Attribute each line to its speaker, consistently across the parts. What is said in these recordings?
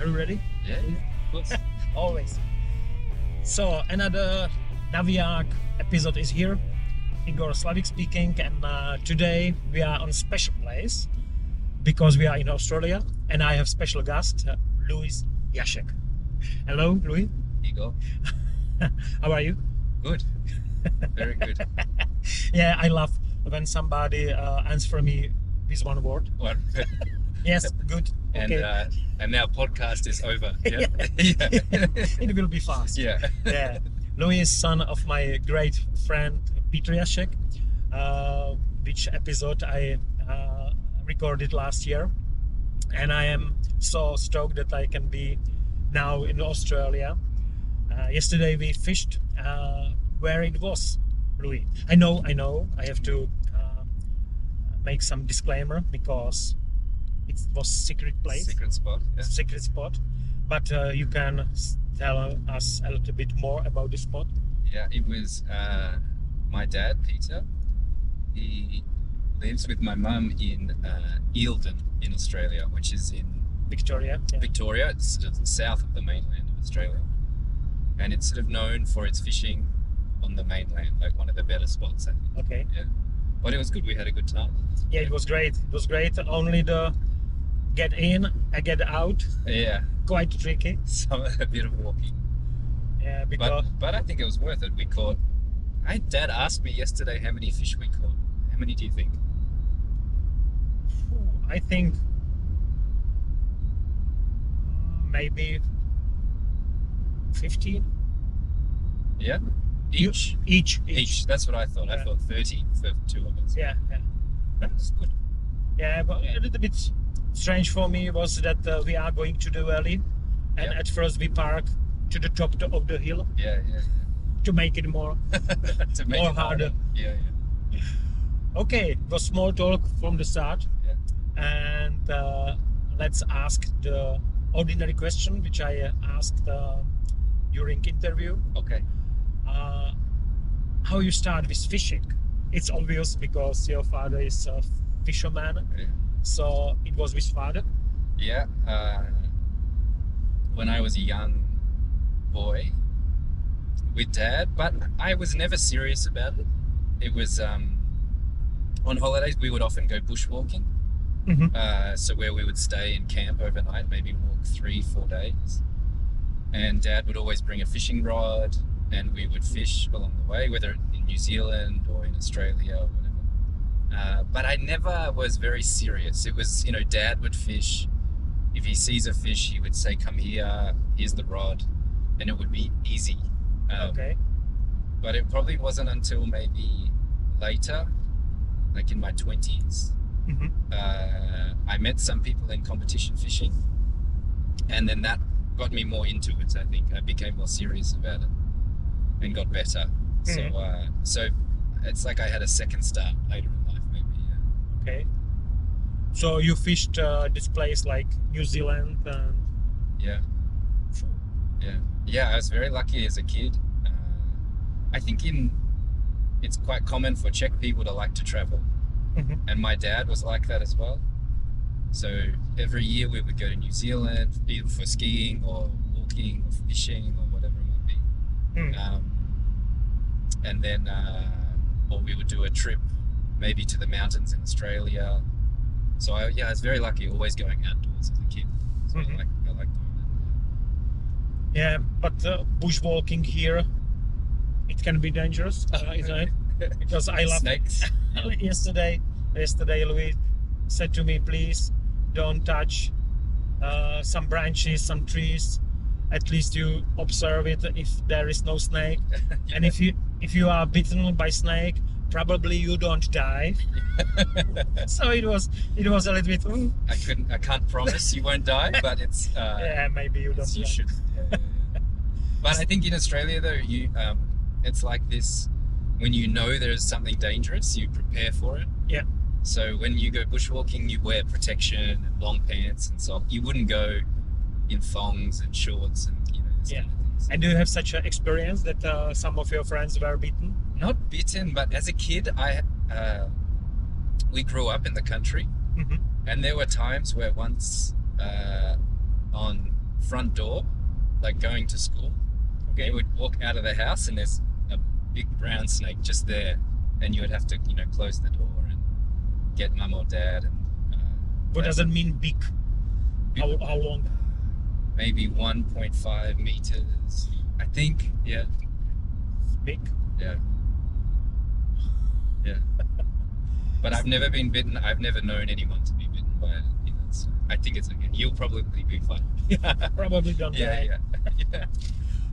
Speaker 1: Are you ready?
Speaker 2: Yeah. of course.
Speaker 1: Always. So another Naviak episode is here. Igor Slavik speaking, and uh, today we are on a special place because we are in Australia, and I have special guest uh, Louis Yashek. Hello, Louis.
Speaker 2: There you go.
Speaker 1: How are you?
Speaker 2: Good. Very good.
Speaker 1: Yeah, I love when somebody uh, answer me with one word.
Speaker 2: Well,
Speaker 1: Yes, good.
Speaker 2: and
Speaker 1: Okay.
Speaker 2: uh, and now podcast is over. Yeah.
Speaker 1: it will be fast.
Speaker 2: yeah.
Speaker 1: yeah. Louis is son of my great friend Peter Jacek, uh, which episode I uh, recorded last year. And I am so stoked that I can be now in Australia. Uh, yesterday we fished uh, where it was, Louis. I know, I know, I have to uh, make some disclaimer because it was secret place
Speaker 2: Secret spot. Yeah.
Speaker 1: secret spot, but uh, you can s- tell us a little bit more about this spot.
Speaker 2: Yeah, it was uh, my dad, Peter. He lives with my mum in uh, Eildon, in Australia, which is in
Speaker 1: Victoria. Yeah.
Speaker 2: Victoria. It's sort of south of the mainland of Australia, and it's sort of known for its fishing on the mainland, like one of the better spots. I think.
Speaker 1: Okay.
Speaker 2: But it was good. We had a good time.
Speaker 1: Yeah, it was great. It was great. Only the get in, I get out,
Speaker 2: Yeah,
Speaker 1: quite tricky.
Speaker 2: some a bit of walking.
Speaker 1: Yeah, because
Speaker 2: But, but I think it was worth it. We caught. My dad asked me yesterday how many fish we caught. How many do you think?
Speaker 1: phew, I think mm, maybe 15
Speaker 2: Yeah,
Speaker 1: You-
Speaker 2: each.
Speaker 1: each.
Speaker 2: Each. That's what I thought. I
Speaker 1: Yeah.
Speaker 2: thought thirty for two of us.
Speaker 1: Yeah, yeah.
Speaker 2: that was good.
Speaker 1: Yeah, but a little bit strange for me was that uh, we are going to the valley, and
Speaker 2: Yeah.
Speaker 1: at first we park to the top to- of the hill
Speaker 2: Yeah, yeah.
Speaker 1: to make it more.
Speaker 2: yeah. to make
Speaker 1: More
Speaker 2: it
Speaker 1: harder.
Speaker 2: Yeah,
Speaker 1: Okay, it was small talk from the start,
Speaker 2: Yeah.
Speaker 1: and uh, let's ask the ordinary question which I uh, asked uh, during interview.
Speaker 2: yeah. Okay.
Speaker 1: Uh, how you start with fishing? It's obvious because your father is a fisherman,
Speaker 2: Yeah.
Speaker 1: so it was with father.
Speaker 2: Yeah. Uh, when I was a young boy with dad, but I was never serious about it. It was um, on holidays we would often go bushwalking.
Speaker 1: Mhm.
Speaker 2: Uh, so where we would stay and camp overnight, maybe walk three, four days. And dad would always bring a fishing rod and we would fish along the way, whether in New Zealand or in Australia or whatever. Uh, but I never was very serious. It was, you know, dad would fish. If he sees a fish, he would say, Come here, here's the rod. And it would be easy. Um,
Speaker 1: Okay.
Speaker 2: But it probably wasn't until maybe later, like in my 20s,
Speaker 1: Mhm.
Speaker 2: uh, I met some people in competition fishing, and then that got me more into it. I think I became more serious about it and got better. So, uh, so it's like I had a second start later in life, maybe. Yeah.
Speaker 1: Okay. So you fished uh, this place like New Zealand and
Speaker 2: yeah. Yeah, yeah. I was very lucky as a kid. Uh, I think in it's quite common for Czech people to like to travel,
Speaker 1: Mhm.
Speaker 2: and my dad was like that as well. So every year we would go to New Zealand either for skiing or walking or fishing or whatever it might be.
Speaker 1: Mm.
Speaker 2: Um, and then, uh, or we would do a trip maybe to the mountains in Australia. So I, yeah, I was very lucky, always going outdoors as a kid. So
Speaker 1: Mhm.
Speaker 2: I like I like doing that.
Speaker 1: yeah, but uh, bushwalking here, it can be dangerous,
Speaker 2: Ah,
Speaker 1: uh, isn't it? Because I love
Speaker 2: snakes.
Speaker 1: yesterday. Yesterday, Louis said to me, "Please don't touch uh, some branches, some trees. At least you observe it if there is no snake. And if you if you are bitten by snake, probably you don't die." so it was it was a little bit. "Ooh,
Speaker 2: I couldn't. I can't promise you won't die, but it's. Uh,
Speaker 1: yeah, maybe you don't.
Speaker 2: it's- you
Speaker 1: die."
Speaker 2: should. yeah, yeah, yeah. But I think in Australia though, you um, it's like this. When you know there is something dangerous, you prepare for it.
Speaker 1: Yeah.
Speaker 2: So when you go bushwalking, you wear protection and long pants and so you wouldn't go in thongs and shorts and you know. this
Speaker 1: Yeah.
Speaker 2: Kind of things.
Speaker 1: And do you have such an experience that uh, some of your friends were beaten?
Speaker 2: not bitten, but as a kid, I uh, we grew up in the country,
Speaker 1: Mhm.
Speaker 2: and there were times where once uh, on front door, like going to school,
Speaker 1: Okay.
Speaker 2: you would walk out of the house and there's a big brown snake just there, and you would have to, you know, close the door and get mum or dad and. Uh,
Speaker 1: What does it mean big?
Speaker 2: Big.
Speaker 1: How, how long?
Speaker 2: maybe 1.5 meters. I think, yeah,
Speaker 1: Big.
Speaker 2: yeah, yeah. But I've never been bitten. I've never known anyone to be bitten by it. You know, so I think it's okay. You'll probably be fine.
Speaker 1: Yeah, probably don't.
Speaker 2: Yeah,
Speaker 1: die.
Speaker 2: yeah, yeah.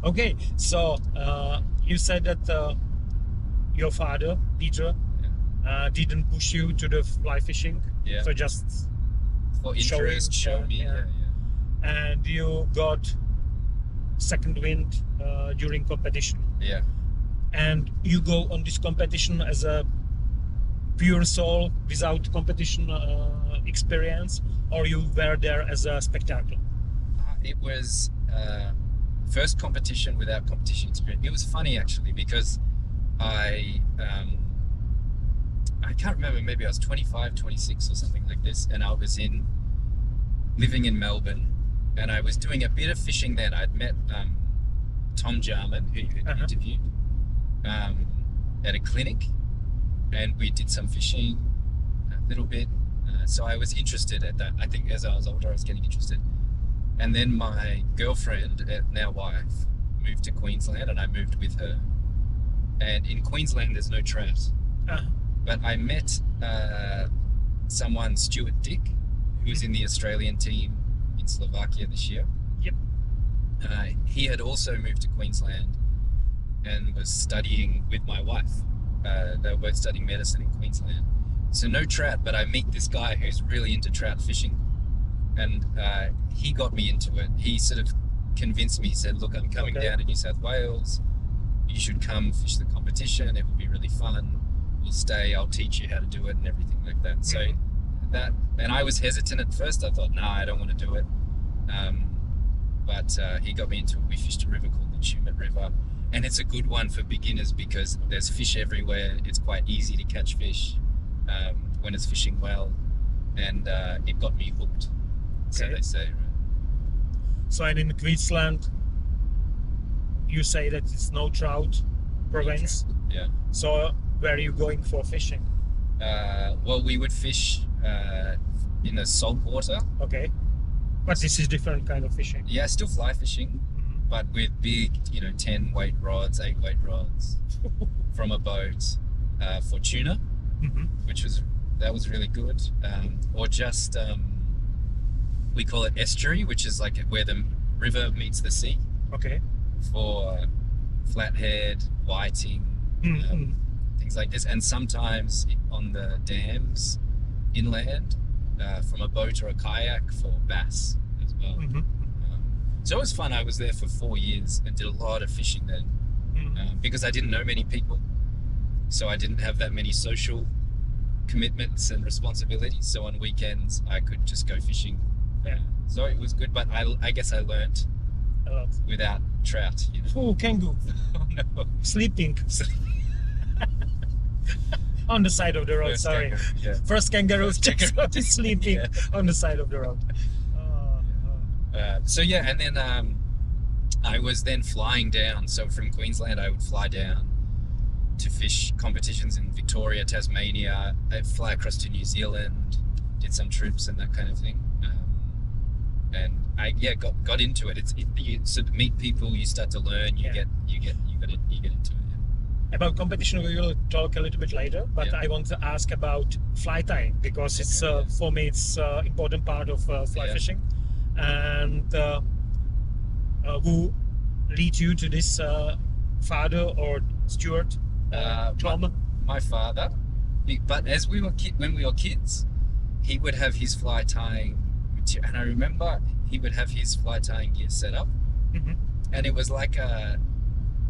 Speaker 1: Okay, so uh, you said that uh, your father, Peter, uh, didn't push you to the fly fishing.
Speaker 2: Yeah.
Speaker 1: So just
Speaker 2: For
Speaker 1: Show you,
Speaker 2: interest, show
Speaker 1: yeah,
Speaker 2: me.
Speaker 1: yeah.
Speaker 2: Yeah, yeah.
Speaker 1: and you got second wind uh, during competition,
Speaker 2: yeah.
Speaker 1: and you go on this competition as a pure soul without competition uh, experience, or you were there as a spectator.
Speaker 2: Uh, it was uh, first competition without competition experience. It was funny actually because I um, I can't remember. Maybe I was 25, 26 or something like this, and I was in living in Melbourne, and I was doing a bit of fishing then. I'd met um, Tom Jarman, who you had
Speaker 1: Uh-huh.
Speaker 2: interviewed, um, at a clinic, and we did some fishing a little bit. Uh, so I was interested at that. I think as I was older, I was getting interested. And then my girlfriend, uh, now wife, moved to Queensland, and I moved with her. And in Queensland, there's no trout.
Speaker 1: Ah.
Speaker 2: But I met uh, someone, Stuart Dick, who was in the Australian team in Slovakia this year.
Speaker 1: Yep.
Speaker 2: Uh, he had also moved to Queensland and was studying with my wife. Uh, they were both studying medicine in Queensland. So no trout, but I meet this guy who's really into trout fishing, and uh, he got me into it. He sort of convinced me. He said, "Look, I'm coming
Speaker 1: Okay.
Speaker 2: down to New South Wales. You should come fish the competition. It will be really fun. We'll stay. I'll teach you how to do it and everything like that." So
Speaker 1: Mhm.
Speaker 2: that, and I was hesitant at first. I thought, "Nah, I don't want to do it." Um, but uh, he got me into it. We fished a river called the Tumut River, and it's a good one for beginners because there's fish everywhere. It's quite easy to catch fish um, when it's fishing well, and uh, it got me hooked. So
Speaker 1: Okay.
Speaker 2: they say. Right?
Speaker 1: So and in Queensland, you say that it's no trout province.
Speaker 2: Yeah.
Speaker 1: So where are you going for fishing?
Speaker 2: Uh, well, we would fish uh, in the salt water.
Speaker 1: Okay, but this is different kind of fishing.
Speaker 2: Yeah, still fly fishing,
Speaker 1: Mhm.
Speaker 2: but with big, you know, ten weight rods, eight weight rods from a boat uh, for tuna.
Speaker 1: Mhm.
Speaker 2: which was that was really good. Um, or just um, we call it estuary, which is like where the river meets the sea
Speaker 1: Okay.
Speaker 2: for flathead, whiting,
Speaker 1: Mhm.
Speaker 2: um, things like this. And sometimes on the dams inland uh, from a boat or a kayak for bass as well.
Speaker 1: Mhm.
Speaker 2: Um, so it was fun. I was there for four years and did a lot of fishing then
Speaker 1: Mhm.
Speaker 2: um, because I didn't know many people. So I didn't have that many social commitments and responsibilities. So on weekends, I could just go fishing.
Speaker 1: Yeah.
Speaker 2: So it was good, but I, I guess I learnt
Speaker 1: A lot.
Speaker 2: without trout, you know.
Speaker 1: Oh, kangaroo
Speaker 2: oh, no.
Speaker 1: sleeping on the side of the road.
Speaker 2: First
Speaker 1: sorry.
Speaker 2: kangaroo, Yeah.
Speaker 1: First kangaroo
Speaker 2: First
Speaker 1: just
Speaker 2: kangaroo.
Speaker 1: sleeping
Speaker 2: Yeah.
Speaker 1: on the side of the road. Uh,
Speaker 2: Uh, so yeah, and then um, I was then flying down. So from Queensland, I would fly down to fish competitions in Victoria, Tasmania. I'd fly across to New Zealand, did some trips and that kind of thing. Um, and I yeah got got into it. It's it, you sort of meet people, you start to learn, you
Speaker 1: Yeah.
Speaker 2: get you get you get it, you get into it.
Speaker 1: About competition, we will talk a little bit later. But
Speaker 2: Yeah.
Speaker 1: I want to ask about fly tying because it's
Speaker 2: Okay,
Speaker 1: uh,
Speaker 2: yeah.
Speaker 1: for me it's uh, important part of uh, fly
Speaker 2: Yeah.
Speaker 1: fishing, and uh, uh, who lead you to this uh, father or Stuart, uh,
Speaker 2: Uh,
Speaker 1: Tom?
Speaker 2: my father. be- But as we were ki- when we were kids, he would have his fly tying, mater- and I remember he would have his fly tying gear set up,
Speaker 1: Mhm.
Speaker 2: and it was like a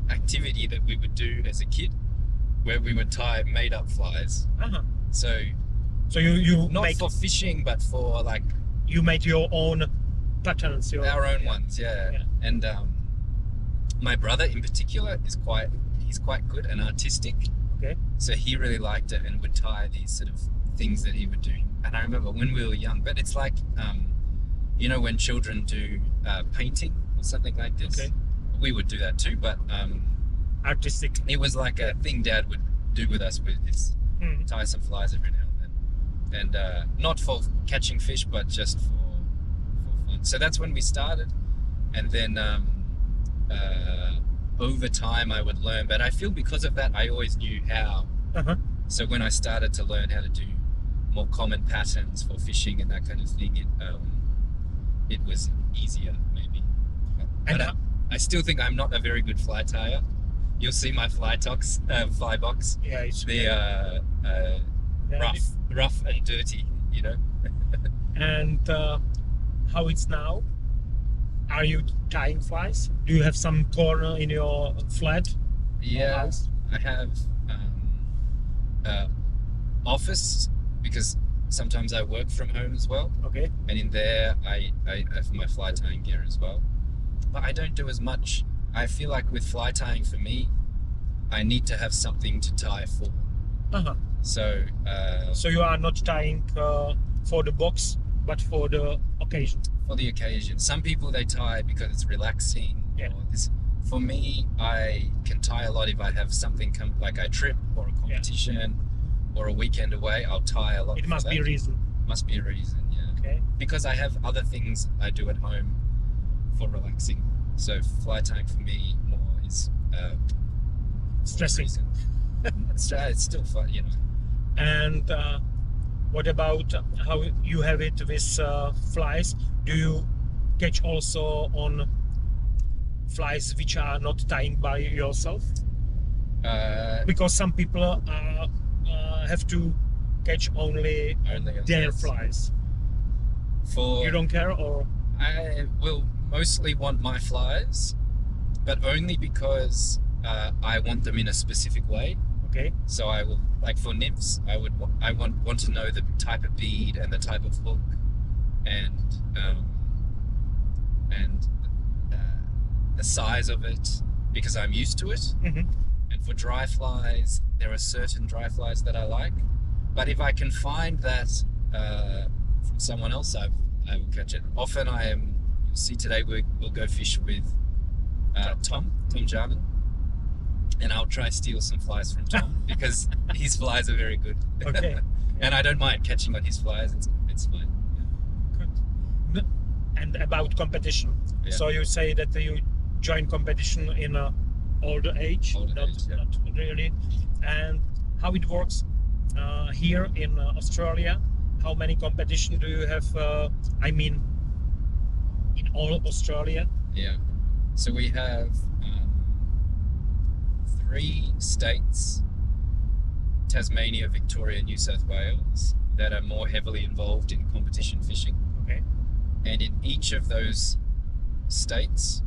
Speaker 2: activity that we would do as a kid, where we would tie made up flies.
Speaker 1: Uh-huh.
Speaker 2: So
Speaker 1: So you you
Speaker 2: not
Speaker 1: make
Speaker 2: for fishing, but for like
Speaker 1: you make your own patterns. Your,
Speaker 2: our own ones, yeah.
Speaker 1: Yeah.
Speaker 2: And um, my brother in particular is quite he's quite good and artistic.
Speaker 1: Okay.
Speaker 2: So he really liked it and would tie these sort of things that he would do. And I remember when we were young, but it's like um, you know when children do uh, painting or something like this.
Speaker 1: Okay.
Speaker 2: We would do that too, but um,
Speaker 1: artistic.
Speaker 2: it was like a thing Dad would do with us with his
Speaker 1: Mm.
Speaker 2: tie some flies every now and then, and uh, not for catching fish, but just for for fun. So that's when we started, and then um, uh, over time I would learn. But I feel because of that, I always knew how.
Speaker 1: Uh-huh.
Speaker 2: So when I started to learn how to do more common patterns for fishing and that kind of thing, it um, it was easier maybe.
Speaker 1: And
Speaker 2: But uh, I, I still think I'm not a very good fly tire. You'll see my fly tox, uh, fly box
Speaker 1: yeah, it's
Speaker 2: they are uh,
Speaker 1: yeah,
Speaker 2: rough, rough and dirty. You know,
Speaker 1: And uh, how it's now? Are you tying flies? Do you have some corner in your flat? or
Speaker 2: yeah.
Speaker 1: house?
Speaker 2: I have um, uh, office because sometimes I work from home as well,
Speaker 1: Okay.
Speaker 2: and in there I, I have my fly tying gear as well. But I don't do as much. I feel like with fly tying for me, I need to have something to tie for.
Speaker 1: Uh-huh.
Speaker 2: So uh,
Speaker 1: So you are not tying uh, for the box, but for the occasion.
Speaker 2: for the occasion. Some people they tie because it's relaxing.
Speaker 1: Yeah.
Speaker 2: Or this. For me, I can tie a lot if I have something come like I trip or a competition or a weekend away. I'll tie a lot.
Speaker 1: It
Speaker 2: for
Speaker 1: must
Speaker 2: that.
Speaker 1: be a reason.
Speaker 2: must be a reason. Yeah.
Speaker 1: Okay.
Speaker 2: Because I have other things I do at home for relaxing. So fly tying for me more is uh,
Speaker 1: Stressing.
Speaker 2: reason. it's, uh, it's still fun, you know.
Speaker 1: And uh, what about how you have it with uh, flies? Do you catch also on flies which are not tying by yourself?
Speaker 2: Uh,
Speaker 1: Because some people are, uh, have to catch only
Speaker 2: only on
Speaker 1: their
Speaker 2: this.
Speaker 1: flies.
Speaker 2: For
Speaker 1: You don't care, or
Speaker 2: I will mostly want my flies, but only because uh, I want them in a specific way.
Speaker 1: okay,
Speaker 2: So I will, like for nymphs, I would wa- I want want to know the type of bead and the type of hook, and um, and uh, the size of it because I'm used to it.
Speaker 1: Mhm.
Speaker 2: And for dry flies, there are certain dry flies that I like, but if I can find that uh, from someone else, I I will catch it. Often I am. You'll see today we we'll go fish with uh, Tom Tom Jarman and I'll try steal some flies from Tom because his flies are very good.
Speaker 1: okay,
Speaker 2: and I don't mind catching on his flies. It's it's fine.
Speaker 1: good. N- And about competition,
Speaker 2: Yeah.
Speaker 1: so you say that you join competition in uh, older age,
Speaker 2: Older
Speaker 1: not,
Speaker 2: age, yeah.
Speaker 1: not really, and how it works uh, here in uh, Australia? How many competition do you have? Uh, I mean, in all Australia,
Speaker 2: Yeah. So we have um, three states: Tasmania, Victoria, New South Wales, that are more heavily involved in competition fishing.
Speaker 1: okay,
Speaker 2: and in each of those states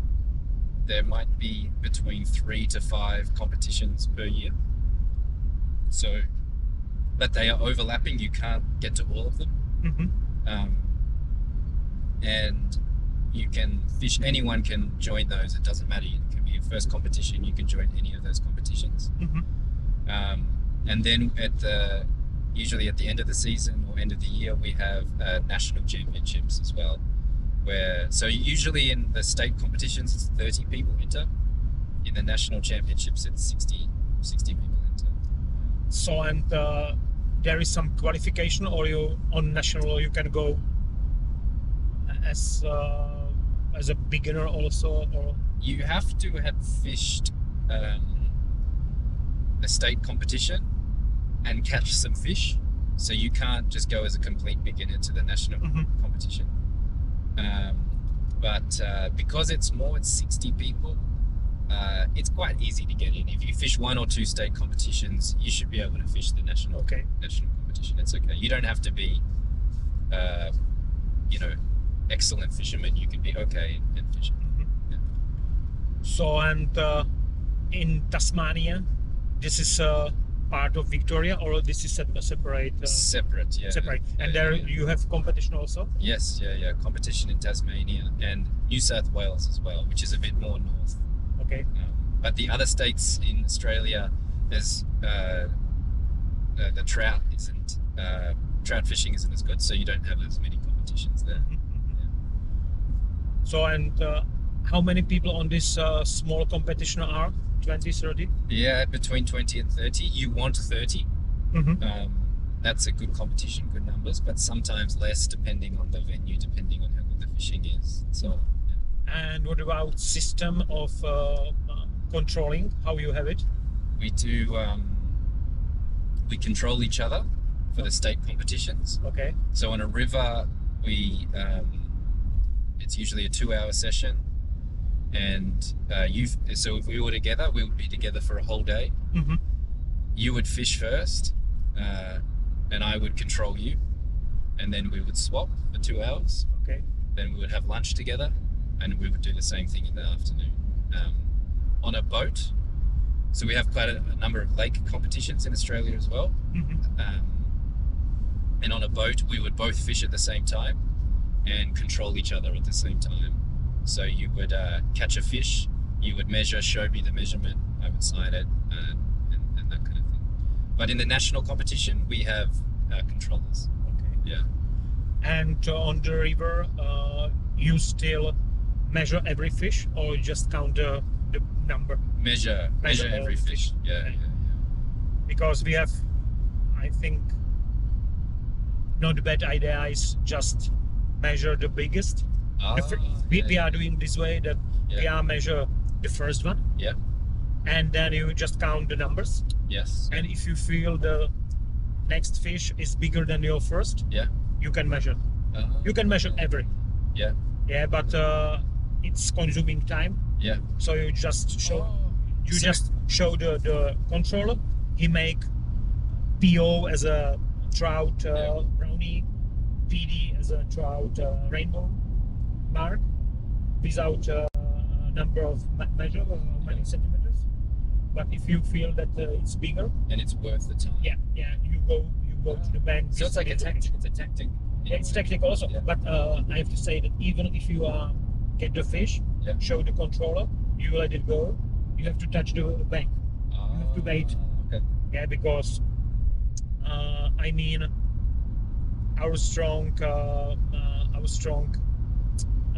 Speaker 2: there might be between three to five competitions per year so but they are overlapping you can't get to all of them
Speaker 1: hmm
Speaker 2: um, and you can fish anyone can join those it doesn't matter it can be your first competition you can join any of those competitions
Speaker 1: hmm
Speaker 2: um, and then at the usually at the end of the season or end of the year, we have uh, national championships as well. Where so usually in the state competitions, it's 30 people enter. In the national championships, it's 60, 60 people enter.
Speaker 1: So and uh, there is some qualification, or you on national you can go as uh, as a beginner also, or
Speaker 2: You have to have fished um, a state competition and catch some fish. So you can't just go as a complete beginner to the national
Speaker 1: Mhm.
Speaker 2: competition. Um, but uh, because it's more, it's 60 people, uh, it's quite easy to get in. If you fish one or two state competitions, you should be able to fish the national
Speaker 1: okay,
Speaker 2: national competition. It's okay. You don't have to be, uh, you know, excellent fisherman. You can be okay and, and fish.
Speaker 1: Mm-hmm. so and uh, in Tasmania, this is uh, part of Victoria, or this is a, a separate. Uh,
Speaker 2: Separate, yeah.
Speaker 1: Separate,
Speaker 2: Yeah,
Speaker 1: and there
Speaker 2: yeah, yeah.
Speaker 1: you have competition also.
Speaker 2: Yes, yeah, yeah. Competition in Tasmania and New South Wales as well, which is a bit more north.
Speaker 1: Okay,
Speaker 2: Um, but the other states in Australia, there's uh, uh, the trout isn't uh, trout fishing isn't as good, so you don't have as many competitions there.
Speaker 1: Mhm, mhm. So, and uh, how many people on this uh, small competition are? 20, 30?
Speaker 2: Yeah, between 20 and 30. You want 30.
Speaker 1: Mm-hmm.
Speaker 2: Um, that's a good competition, good numbers, but sometimes less depending on the venue, depending on how good the fishing is. So,
Speaker 1: And what about system of uh, controlling? How you have it?
Speaker 2: we do um, we control each other for the state competitions
Speaker 1: Okay.
Speaker 2: so on a river we um, it's usually a two hour session and uh, you so if we were together we would be together for a whole day
Speaker 1: Mhm.
Speaker 2: you would fish first uh, and i would control you and then we would swap for two hours
Speaker 1: Okay.
Speaker 2: then we would have lunch together and we would do the same thing in the afternoon um, on a boat so we have quite a, a number of lake competitions in australia as well
Speaker 1: hmm
Speaker 2: um, and on a boat we would both fish at the same time and control each other at the same time so you would uh, catch a fish you would measure show me the measurement i would sign it uh, and, and that kind of thing but in the national competition we have uh, controllers
Speaker 1: Okay.
Speaker 2: yeah
Speaker 1: And uh, on the river, uh, you still measure every fish, or you just count the, the number?
Speaker 2: measure measure
Speaker 1: all
Speaker 2: every
Speaker 1: the
Speaker 2: fish
Speaker 1: fish.
Speaker 2: yeah, yeah, yeah.
Speaker 1: because we have, I think, not a bad idea is just measure the biggest.
Speaker 2: Ah,
Speaker 1: The fir- we,
Speaker 2: yeah,
Speaker 1: we are doing this way that we
Speaker 2: yeah.
Speaker 1: are measure the first one.
Speaker 2: Yeah.
Speaker 1: And then you just count the numbers.
Speaker 2: Yes.
Speaker 1: And if you feel the next fish is bigger than your first,
Speaker 2: Yeah.
Speaker 1: you can measure.
Speaker 2: Ah,
Speaker 1: You can measure every.
Speaker 2: Yeah.
Speaker 1: Yeah, but uh, it's consuming time.
Speaker 2: Yeah.
Speaker 1: So you just show
Speaker 2: Oh,
Speaker 1: you
Speaker 2: so-
Speaker 1: just show the, the controller he make po as a trout uh,
Speaker 2: Yeah.
Speaker 1: brownie pd as a trout uh, rainbow mark without uh, number of me- measure or how many centimeters but if you feel that uh, it's bigger
Speaker 2: and it's worth the time.
Speaker 1: yeah yeah you go you go to the bank
Speaker 2: So it's like a
Speaker 1: with the
Speaker 2: tactic. It's a tactic.
Speaker 1: yeah, it's technical also,
Speaker 2: Yeah.
Speaker 1: but uh, I have to say that even if you uh, get the fish,
Speaker 2: Yeah.
Speaker 1: show the controller, you let it go, you have to touch the bank.
Speaker 2: Ah,
Speaker 1: have to wait.
Speaker 2: Okay.
Speaker 1: Yeah, because uh, I mean, our strong, uh, uh, our strong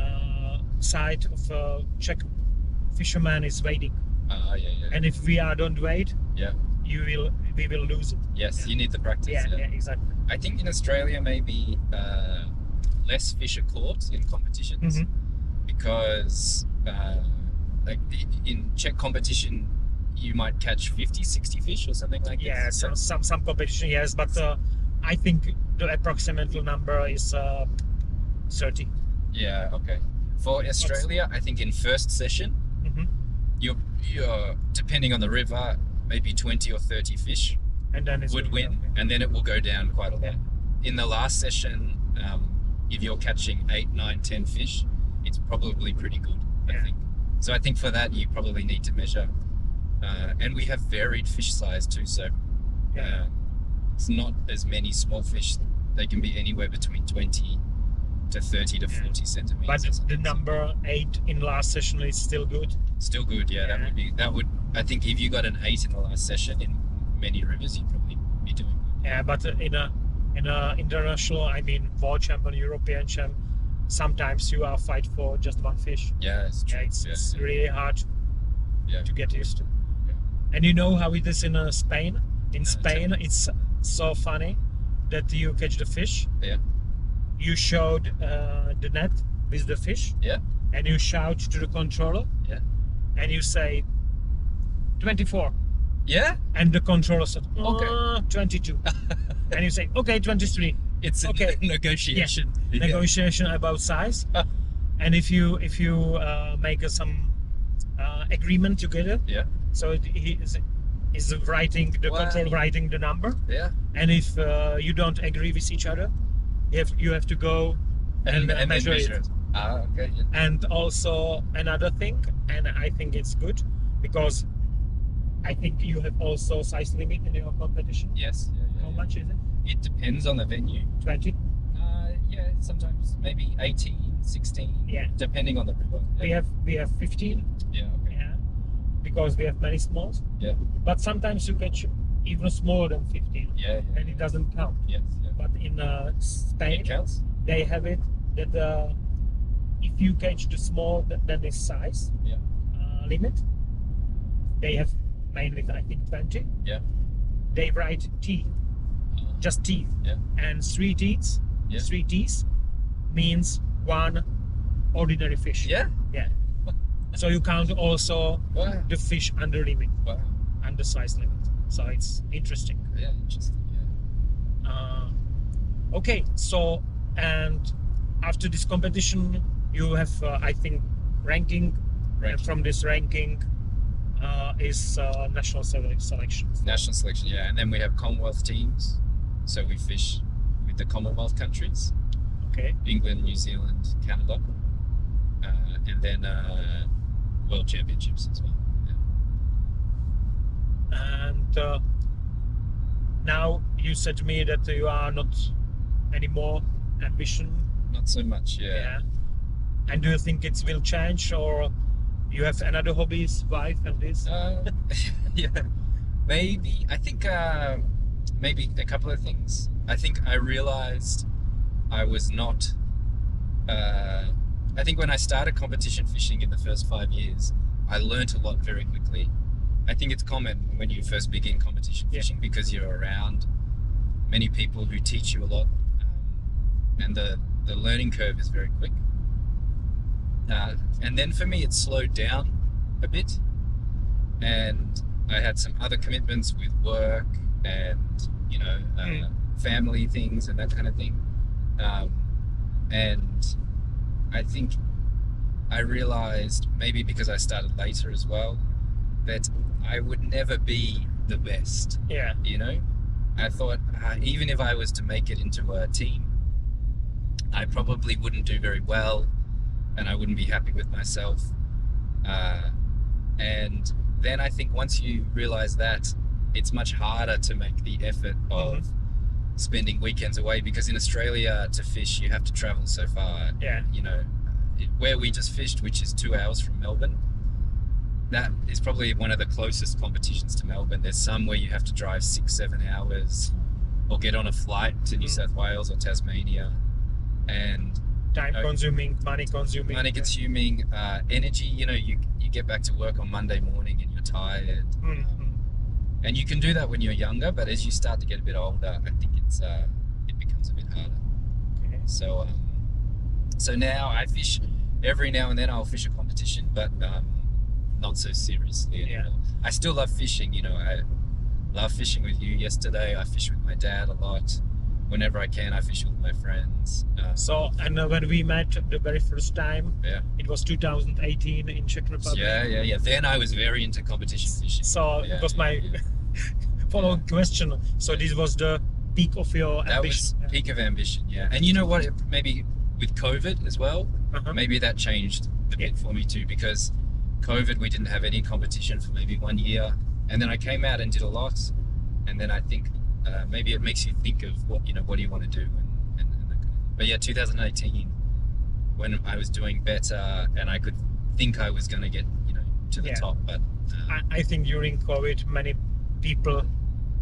Speaker 1: uh, side of uh, Czech fisherman is waiting,
Speaker 2: Ah, yeah, yeah.
Speaker 1: and if we are don't wait,
Speaker 2: Yeah.
Speaker 1: you will we will lose it.
Speaker 2: yes,
Speaker 1: yeah.
Speaker 2: you need the practice.
Speaker 1: Yeah,
Speaker 2: yeah.
Speaker 1: yeah, exactly.
Speaker 2: I think in Australia maybe uh, less fish are caught in competitions
Speaker 1: Mhm.
Speaker 2: because uh, like the, in Czech competition you might catch 50, 60 fish or something like
Speaker 1: Yeah,
Speaker 2: this.
Speaker 1: some, some some competition, yes, but uh, I think the approximate number is uh, thirty.
Speaker 2: Yeah, okay. For Australia, I think in first session,
Speaker 1: Mhm.
Speaker 2: you're, you're depending on the river, maybe 20 or 30 fish
Speaker 1: And then it's
Speaker 2: would
Speaker 1: going
Speaker 2: win,
Speaker 1: down, yeah.
Speaker 2: and then it will go down quite a lot.
Speaker 1: Yeah.
Speaker 2: In the last session, um, if you're catching 8, 9, 10 fish, it's probably pretty good, I
Speaker 1: Yeah.
Speaker 2: think. So I think for that, you probably need to measure. Uh, and we have varied fish size too, so
Speaker 1: Yeah.
Speaker 2: uh, it's not as many small fish. They can be anywhere between 20 to 30 to
Speaker 1: Yeah.
Speaker 2: 40 centimeters.
Speaker 1: But
Speaker 2: or
Speaker 1: the
Speaker 2: something.
Speaker 1: number eight in last session is still good.
Speaker 2: Still good, yeah, That
Speaker 1: Yeah.
Speaker 2: would be that would. I think if you got an eight in the last session in many rivers, you'd probably be doing good.
Speaker 1: Yeah, but in a in a international, I mean, world champion, European champ, sometimes you are fight for just one fish.
Speaker 2: Yeah, it's true.
Speaker 1: Yeah, it's,
Speaker 2: yeah,
Speaker 1: it's
Speaker 2: yeah,
Speaker 1: really hard
Speaker 2: yeah.
Speaker 1: to get used to.
Speaker 2: Yeah.
Speaker 1: And you know how it is in uh, Spain. In
Speaker 2: it's-
Speaker 1: Spain, it's so funny that you catch the fish.
Speaker 2: Yeah.
Speaker 1: You showed uh, the net with the fish.
Speaker 2: Yeah.
Speaker 1: And you shout to the controller.
Speaker 2: Yeah.
Speaker 1: And you say, 24.
Speaker 2: Yeah?
Speaker 1: And the controller said,
Speaker 2: Okay.
Speaker 1: "Uh, 22. and you say, okay, 23.
Speaker 2: It's a
Speaker 1: Okay.
Speaker 2: ne- negotiation. Yeah.
Speaker 1: Negotiation about size. and if you if you uh, make uh, some uh, agreement together,
Speaker 2: Yeah.
Speaker 1: so it, he is, is writing the
Speaker 2: Wow.
Speaker 1: control writing the number.
Speaker 2: yeah.
Speaker 1: And if uh, you don't agree with each other, you have, you have to go And,
Speaker 2: And, and,
Speaker 1: uh,
Speaker 2: then
Speaker 1: measure
Speaker 2: measure,
Speaker 1: it.
Speaker 2: it. Ah, okay. Yeah.
Speaker 1: and also another thing and i think it's good because i think you have also size limit in your competition
Speaker 2: Yes. Yeah, yeah,
Speaker 1: how
Speaker 2: yeah.
Speaker 1: much is it
Speaker 2: It depends on the venue.
Speaker 1: 20
Speaker 2: Uh, yeah, sometimes maybe 18, 16,
Speaker 1: Yeah.
Speaker 2: depending on the river.
Speaker 1: we have we have 15
Speaker 2: yeah, okay.
Speaker 1: yeah because we have many smalls
Speaker 2: Yeah.
Speaker 1: but sometimes you catch even smaller than 15
Speaker 2: Yeah, yeah.
Speaker 1: and it doesn't count
Speaker 2: Yes, yeah.
Speaker 1: but in uh, spain
Speaker 2: It counts?
Speaker 1: they have it that uh, if you catch the small th- than this size
Speaker 2: Yeah.
Speaker 1: uh, limit, they have mainly I think twenty.
Speaker 2: Yeah.
Speaker 1: They write T,
Speaker 2: Oh,
Speaker 1: just T.
Speaker 2: Yeah.
Speaker 1: And three T's,
Speaker 2: Yeah.
Speaker 1: three T's, means one ordinary fish.
Speaker 2: yeah.
Speaker 1: So you count also
Speaker 2: Wow.
Speaker 1: the fish under limit,
Speaker 2: Wow.
Speaker 1: under size limit. So it's interesting.
Speaker 2: Yeah. Interesting. Yeah.
Speaker 1: Uh, okay, so and after this competition, you have, uh, I think, ranking.
Speaker 2: Right.
Speaker 1: And from this ranking uh, is uh, national sele- selection.
Speaker 2: National selection. Yeah. And then we have Commonwealth teams. So we fish with the Commonwealth countries.
Speaker 1: Okay,
Speaker 2: England, New Zealand, Canada, uh, and then uh, World Championships as well.
Speaker 1: and uh, now you said to me that you are not anymore ambition.
Speaker 2: Not so much, yeah.
Speaker 1: And do you think it will change, or you have another hobbies, wife, and this?
Speaker 2: Yeah, uh, yeah. maybe. I think uh, maybe a couple of things. I think I realized I was not. Uh, I think when I started competition fishing in the first five years, I learnt a lot very quickly. I think it's common when you first begin competition
Speaker 1: Yeah.
Speaker 2: fishing because you're around many people who teach you a lot, um, and the the learning curve is very quick. Uh, and then for me, it slowed down a bit, and I had some other commitments with work and you know uh,
Speaker 1: Mm.
Speaker 2: family things and that kind of thing. Um, and I think I realized maybe because I started later as well that I would never be the best.
Speaker 1: Yeah.
Speaker 2: You know, I thought uh, even if I was to make it into a team, I probably wouldn't do very well, and I wouldn't be happy with myself. Uh, and then I think once you realize that, it's much harder to make the effort of spending weekends away because in Australia to fish you have to travel so far
Speaker 1: Yeah.
Speaker 2: you know, it- where we just fished, which is two hours from Melbourne, that is probably one of the closest competitions to Melbourne. There's some where you have to drive six, seven hours or get on a flight to New
Speaker 1: Mm.
Speaker 2: South Wales or Tasmania. And
Speaker 1: time
Speaker 2: Okay.
Speaker 1: consuming, money consuming.
Speaker 2: money consuming, uh, energy, you know, you, you get back to work on Monday morning and you're tired.
Speaker 1: Mm, mm.
Speaker 2: And you can do that when you're younger, but as you start to get a bit older, I think it's uh, it becomes a bit harder.
Speaker 1: Okay.
Speaker 2: So, um, so now I fish every now and then. I'll fish a competition, but um, not so seriously
Speaker 1: Yeah.
Speaker 2: anymore. I still love fishing. You know, I love fishing with you. Yesterday, I fish with my dad a lot. Whenever I can, I fish with my friends. Um,
Speaker 1: So, and uh, when we met the very first time,
Speaker 2: Yeah.
Speaker 1: it was 2018 in Czech Republic.
Speaker 2: yeah, yeah, yeah. Then I was very into competition fishing.
Speaker 1: So
Speaker 2: Yeah,
Speaker 1: it was
Speaker 2: yeah,
Speaker 1: my
Speaker 2: yeah.
Speaker 1: following question. So this was the peak of your
Speaker 2: that was
Speaker 1: ambition. Yeah.
Speaker 2: peak of ambition. Yeah, and you know what? Maybe with COVID as well.
Speaker 1: Uh-huh.
Speaker 2: maybe that changed the bit for me too because COVID we didn't have any competition for maybe one year, and then I came out and did a lot, and then I think uh, maybe it makes you think of what you know what do you want to do, and, and, and that kind of thing. but yeah, 2018 when I was doing better and I could think I was going to get you know to the
Speaker 1: Yeah.
Speaker 2: top, but uh,
Speaker 1: I, I think during COVID, many people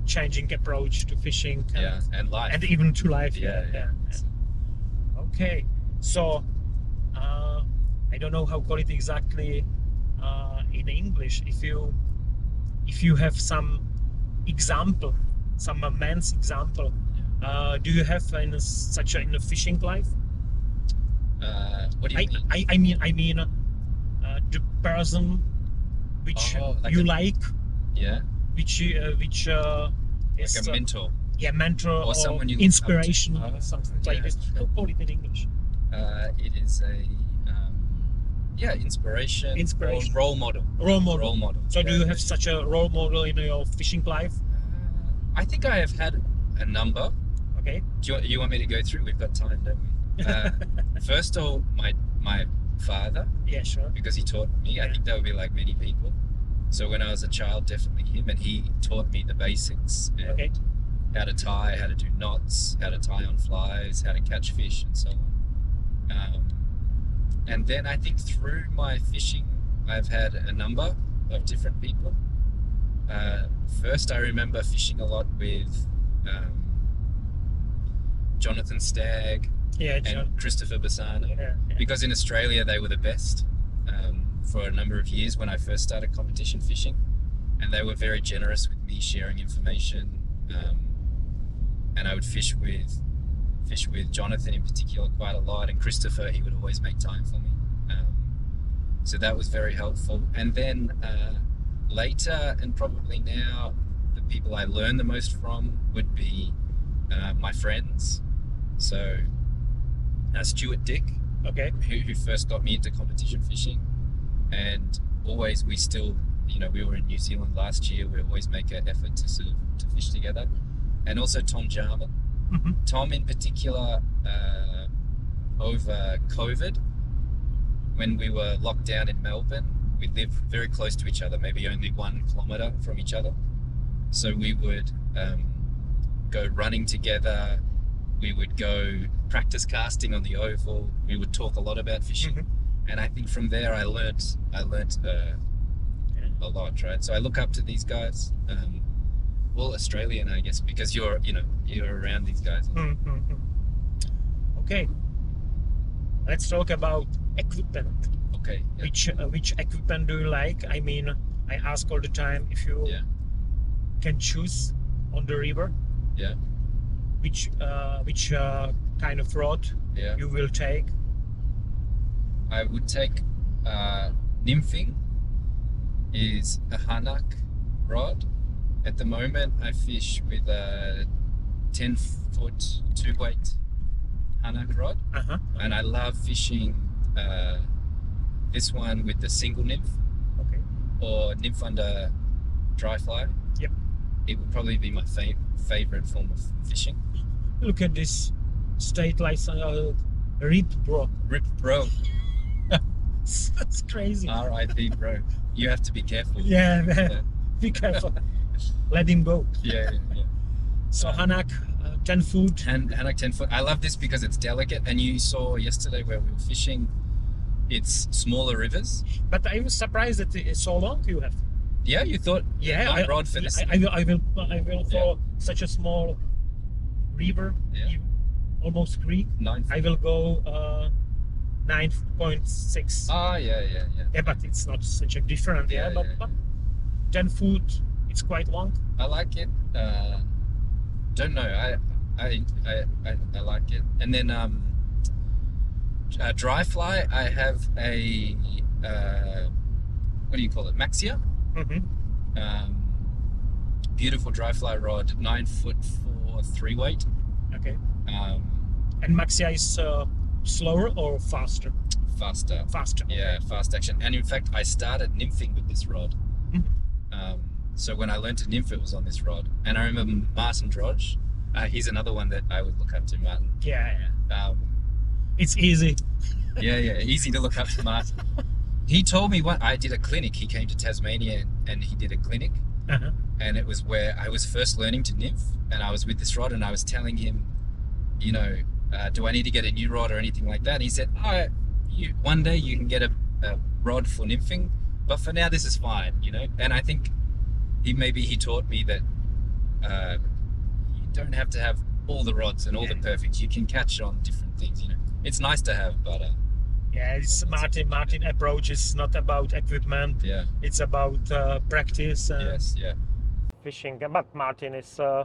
Speaker 1: changing approach to fishing and,
Speaker 2: yeah, and life,
Speaker 1: and even to life.
Speaker 2: yeah, yeah,
Speaker 1: Okay. So uh, I don't know how call it exactly uh, in English. If you if you have some example, some man's example, uh, do you have in such a, in a fishing life?
Speaker 2: Uh, what do you
Speaker 1: I,
Speaker 2: mean?
Speaker 1: I, I mean I mean uh, the person which
Speaker 2: Oh, like
Speaker 1: you
Speaker 2: a-
Speaker 1: like,
Speaker 2: yeah,
Speaker 1: which you- uh, which uh, is
Speaker 2: like a
Speaker 1: uh,
Speaker 2: mentor.
Speaker 1: yeah mentor or,
Speaker 2: someone you look up to.
Speaker 1: inspiration
Speaker 2: Ah,
Speaker 1: something like
Speaker 2: yeah.
Speaker 1: this. How call it in English?
Speaker 2: Uh, it is a um, yeah inspiration,
Speaker 1: Inspiration.
Speaker 2: or role model.
Speaker 1: Role model.
Speaker 2: Role model.
Speaker 1: So do
Speaker 2: yeah.
Speaker 1: you have such a role model in your fishing life?
Speaker 2: Uh, I think I have had a number.
Speaker 1: Okay.
Speaker 2: Do you, want- you want me to go through? We've got time, don't we? Uh, first of all, my my father
Speaker 1: Yeah, sure.
Speaker 2: because he taught me. I
Speaker 1: Yeah.
Speaker 2: think that would be like many people. So when I was a child, definitely him, and he taught me the basics and
Speaker 1: Okay.
Speaker 2: how to tie, how to do knots, how to tie on flies, how to catch fish, and so on. Um, and then I think through my fishing, I've had a number of different people. Uh, first, I remember fishing a lot with um, Jonathan Stagg
Speaker 1: Yeah, John.
Speaker 2: and Christopher Bassano.
Speaker 1: Yeah, yeah.
Speaker 2: because in Australia they were the best um, for a number of years when I first started competition fishing, and they were very generous with me sharing information. Um, and I would fish with fish with Jonathan in particular quite a lot, and Christopher he would always make time for me. Um, so that was very helpful. And then uh, later, and probably now, the people I learned the most from would be uh, my friends. So uh, Stuart Dick,
Speaker 1: Okay.
Speaker 2: who, who first got me into competition fishing and always we still you know we were in new zealand last year we always make an effort to sort of to fish together and also tom jarman
Speaker 1: Mhm.
Speaker 2: tom in particular uh, over covid when we were locked down in melbourne we lived very close to each other maybe only one kilometer from each other so we would um, go running together we would go practice casting on the oval we would talk a lot about fishing
Speaker 1: Mhm.
Speaker 2: and I think from there I learnt I learnt uh, a lot, right? So I look up to these guys, um, well, Australian, I guess, because you're you know you're around these guys.
Speaker 1: Mm, mm, mm. Okay. Let's talk about equipment.
Speaker 2: Okay, yeah,
Speaker 1: Which uh, which equipment do you like? I mean, I ask all the time if you
Speaker 2: Yeah.
Speaker 1: can choose on the river.
Speaker 2: Yeah.
Speaker 1: Which uh, which uh, kind of rod
Speaker 2: yeah.
Speaker 1: you will take?
Speaker 2: I would take uh, nymphing is a hanak rod. At the moment, I fish with a ten foot two weight hanak rod.
Speaker 1: Uh huh.
Speaker 2: and I love fishing uh, this one with the single nymph
Speaker 1: Okay.
Speaker 2: or nymph under dry fly.
Speaker 1: Yep.
Speaker 2: It would probably be my fa- favorite form of fishing.
Speaker 1: Look at this state license uh, rip bro.
Speaker 2: Rip bro,
Speaker 1: That's crazy.
Speaker 2: R.I.P. bro. You have to be careful.
Speaker 1: yeah, man.
Speaker 2: Yeah.
Speaker 1: Be careful. Let him go.
Speaker 2: yeah, yeah, yeah.
Speaker 1: So
Speaker 2: Uh,
Speaker 1: Hanak, uh, ten foot.
Speaker 2: Hand, Hannock 10 foot. I love this because it's delicate, and you saw yesterday where we were fishing. It's smaller rivers.
Speaker 1: But I was surprised that it's so long you have.
Speaker 2: Yeah, you thought
Speaker 1: Yeah,
Speaker 2: one
Speaker 1: I,
Speaker 2: rod for
Speaker 1: I-
Speaker 2: this.
Speaker 1: I, will. I will. I will for such a small river,
Speaker 2: Yeah.
Speaker 1: you- almost creek.
Speaker 2: nine. Foot.
Speaker 1: I will go uh, nine point six.
Speaker 2: Ah, yeah, yeah, yeah.
Speaker 1: yeah, but it's not such a different. Yeah,
Speaker 2: Yeah,
Speaker 1: but,
Speaker 2: yeah,
Speaker 1: but ten foot, it's quite long.
Speaker 2: I like it. Uh, don't know. I, I, I, I, I like it. And then um, uh, dry fly. I have a uh, what do you call it? Maxia.
Speaker 1: Mm-hmm.
Speaker 2: Um, beautiful dry fly rod, nine foot four three weight.
Speaker 1: Okay.
Speaker 2: Um,
Speaker 1: And Maxia is uh, slower or faster?
Speaker 2: faster.
Speaker 1: Faster.
Speaker 2: Yeah, fast action. And in fact, I started nymphing with this rod.
Speaker 1: Mhm.
Speaker 2: Um, so when I learned to nymph, it was on this rod. And I remember Martin Drodge. Uh, he's another one that I would look up to, Martin.
Speaker 1: Yeah. yeah.
Speaker 2: Um,
Speaker 1: It's easy.
Speaker 2: yeah, yeah, easy to look up to Martin. He told me what I did a clinic. He came to Tasmania and, and he did a clinic,
Speaker 1: Uh-huh.
Speaker 2: and it was where I was first learning to nymph, and I was with this rod, and I was telling him, you know, uh, do I need to get a new rod or anything like that? And he said, oh, you, one day you can get a, a rod for nymphing, but for now this is fine, you know. And I think he maybe he taught me that uh, you don't have to have all the rods and all the
Speaker 1: Yeah.
Speaker 2: perfects. You can catch on different things, you know. It's nice to have, but uh,
Speaker 1: Yeah, it's Martin. Martin approach is not about equipment.
Speaker 2: yeah,
Speaker 1: It's about uh, practice and
Speaker 2: yes, yeah.
Speaker 1: fishing. But Martin is. Uh,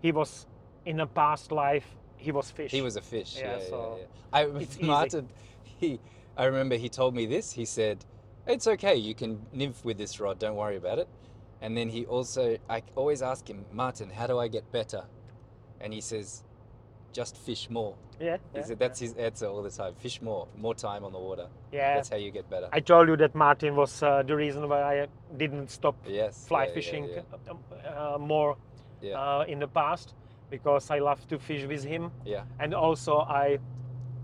Speaker 1: he was in a past life. He was fish.
Speaker 2: He was a fish.
Speaker 1: Yeah,
Speaker 2: Yeah, yeah,
Speaker 1: so
Speaker 2: yeah. I
Speaker 1: it's easy.
Speaker 2: Martin, he, I remember he told me this. He said, "It's okay. You can nymph with this rod. Don't worry about it." And then he also, I always ask him, Martin, how do I get better? And he says, just fish more.
Speaker 1: Yeah.
Speaker 2: He said that's his answer all the time. Fish more, more time on the water.
Speaker 1: yeah.
Speaker 2: That's how you get better.
Speaker 1: I told you that Martin was uh, the reason why I didn't stop
Speaker 2: yes.
Speaker 1: fly
Speaker 2: yeah, yeah,
Speaker 1: fishing
Speaker 2: Yeah,
Speaker 1: Uh, more
Speaker 2: Yeah.
Speaker 1: uh, in the past because I love to fish with him
Speaker 2: yeah.
Speaker 1: and also I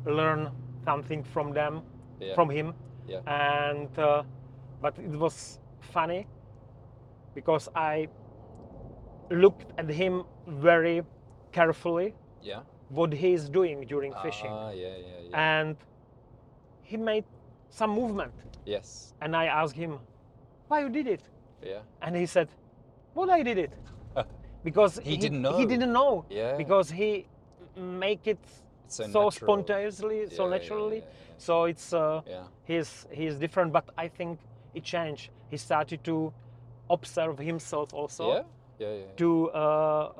Speaker 1: learn something from them
Speaker 2: yeah.
Speaker 1: from him.
Speaker 2: Yeah.
Speaker 1: And uh, but it was funny because I looked at him very carefully
Speaker 2: yeah.
Speaker 1: what he is doing during fishing,
Speaker 2: Ah, yeah, yeah, yeah.
Speaker 1: and he made some movement,
Speaker 2: yes.
Speaker 1: and I asked him why you did it,
Speaker 2: Yeah.
Speaker 1: and he said, "Well, I did it because
Speaker 2: He didn't
Speaker 1: He
Speaker 2: know.
Speaker 1: didn't know
Speaker 2: Yeah.
Speaker 1: because he make it
Speaker 2: It's so
Speaker 1: so
Speaker 2: natural.
Speaker 1: spontaneously, so
Speaker 2: Yeah, yeah,
Speaker 1: naturally.
Speaker 2: yeah, yeah.
Speaker 1: So it's uh,
Speaker 2: Yeah.
Speaker 1: he's he's different, but I think it changed. He started to observe himself also
Speaker 2: yeah. Yeah. Yeah.
Speaker 1: to uh, uh,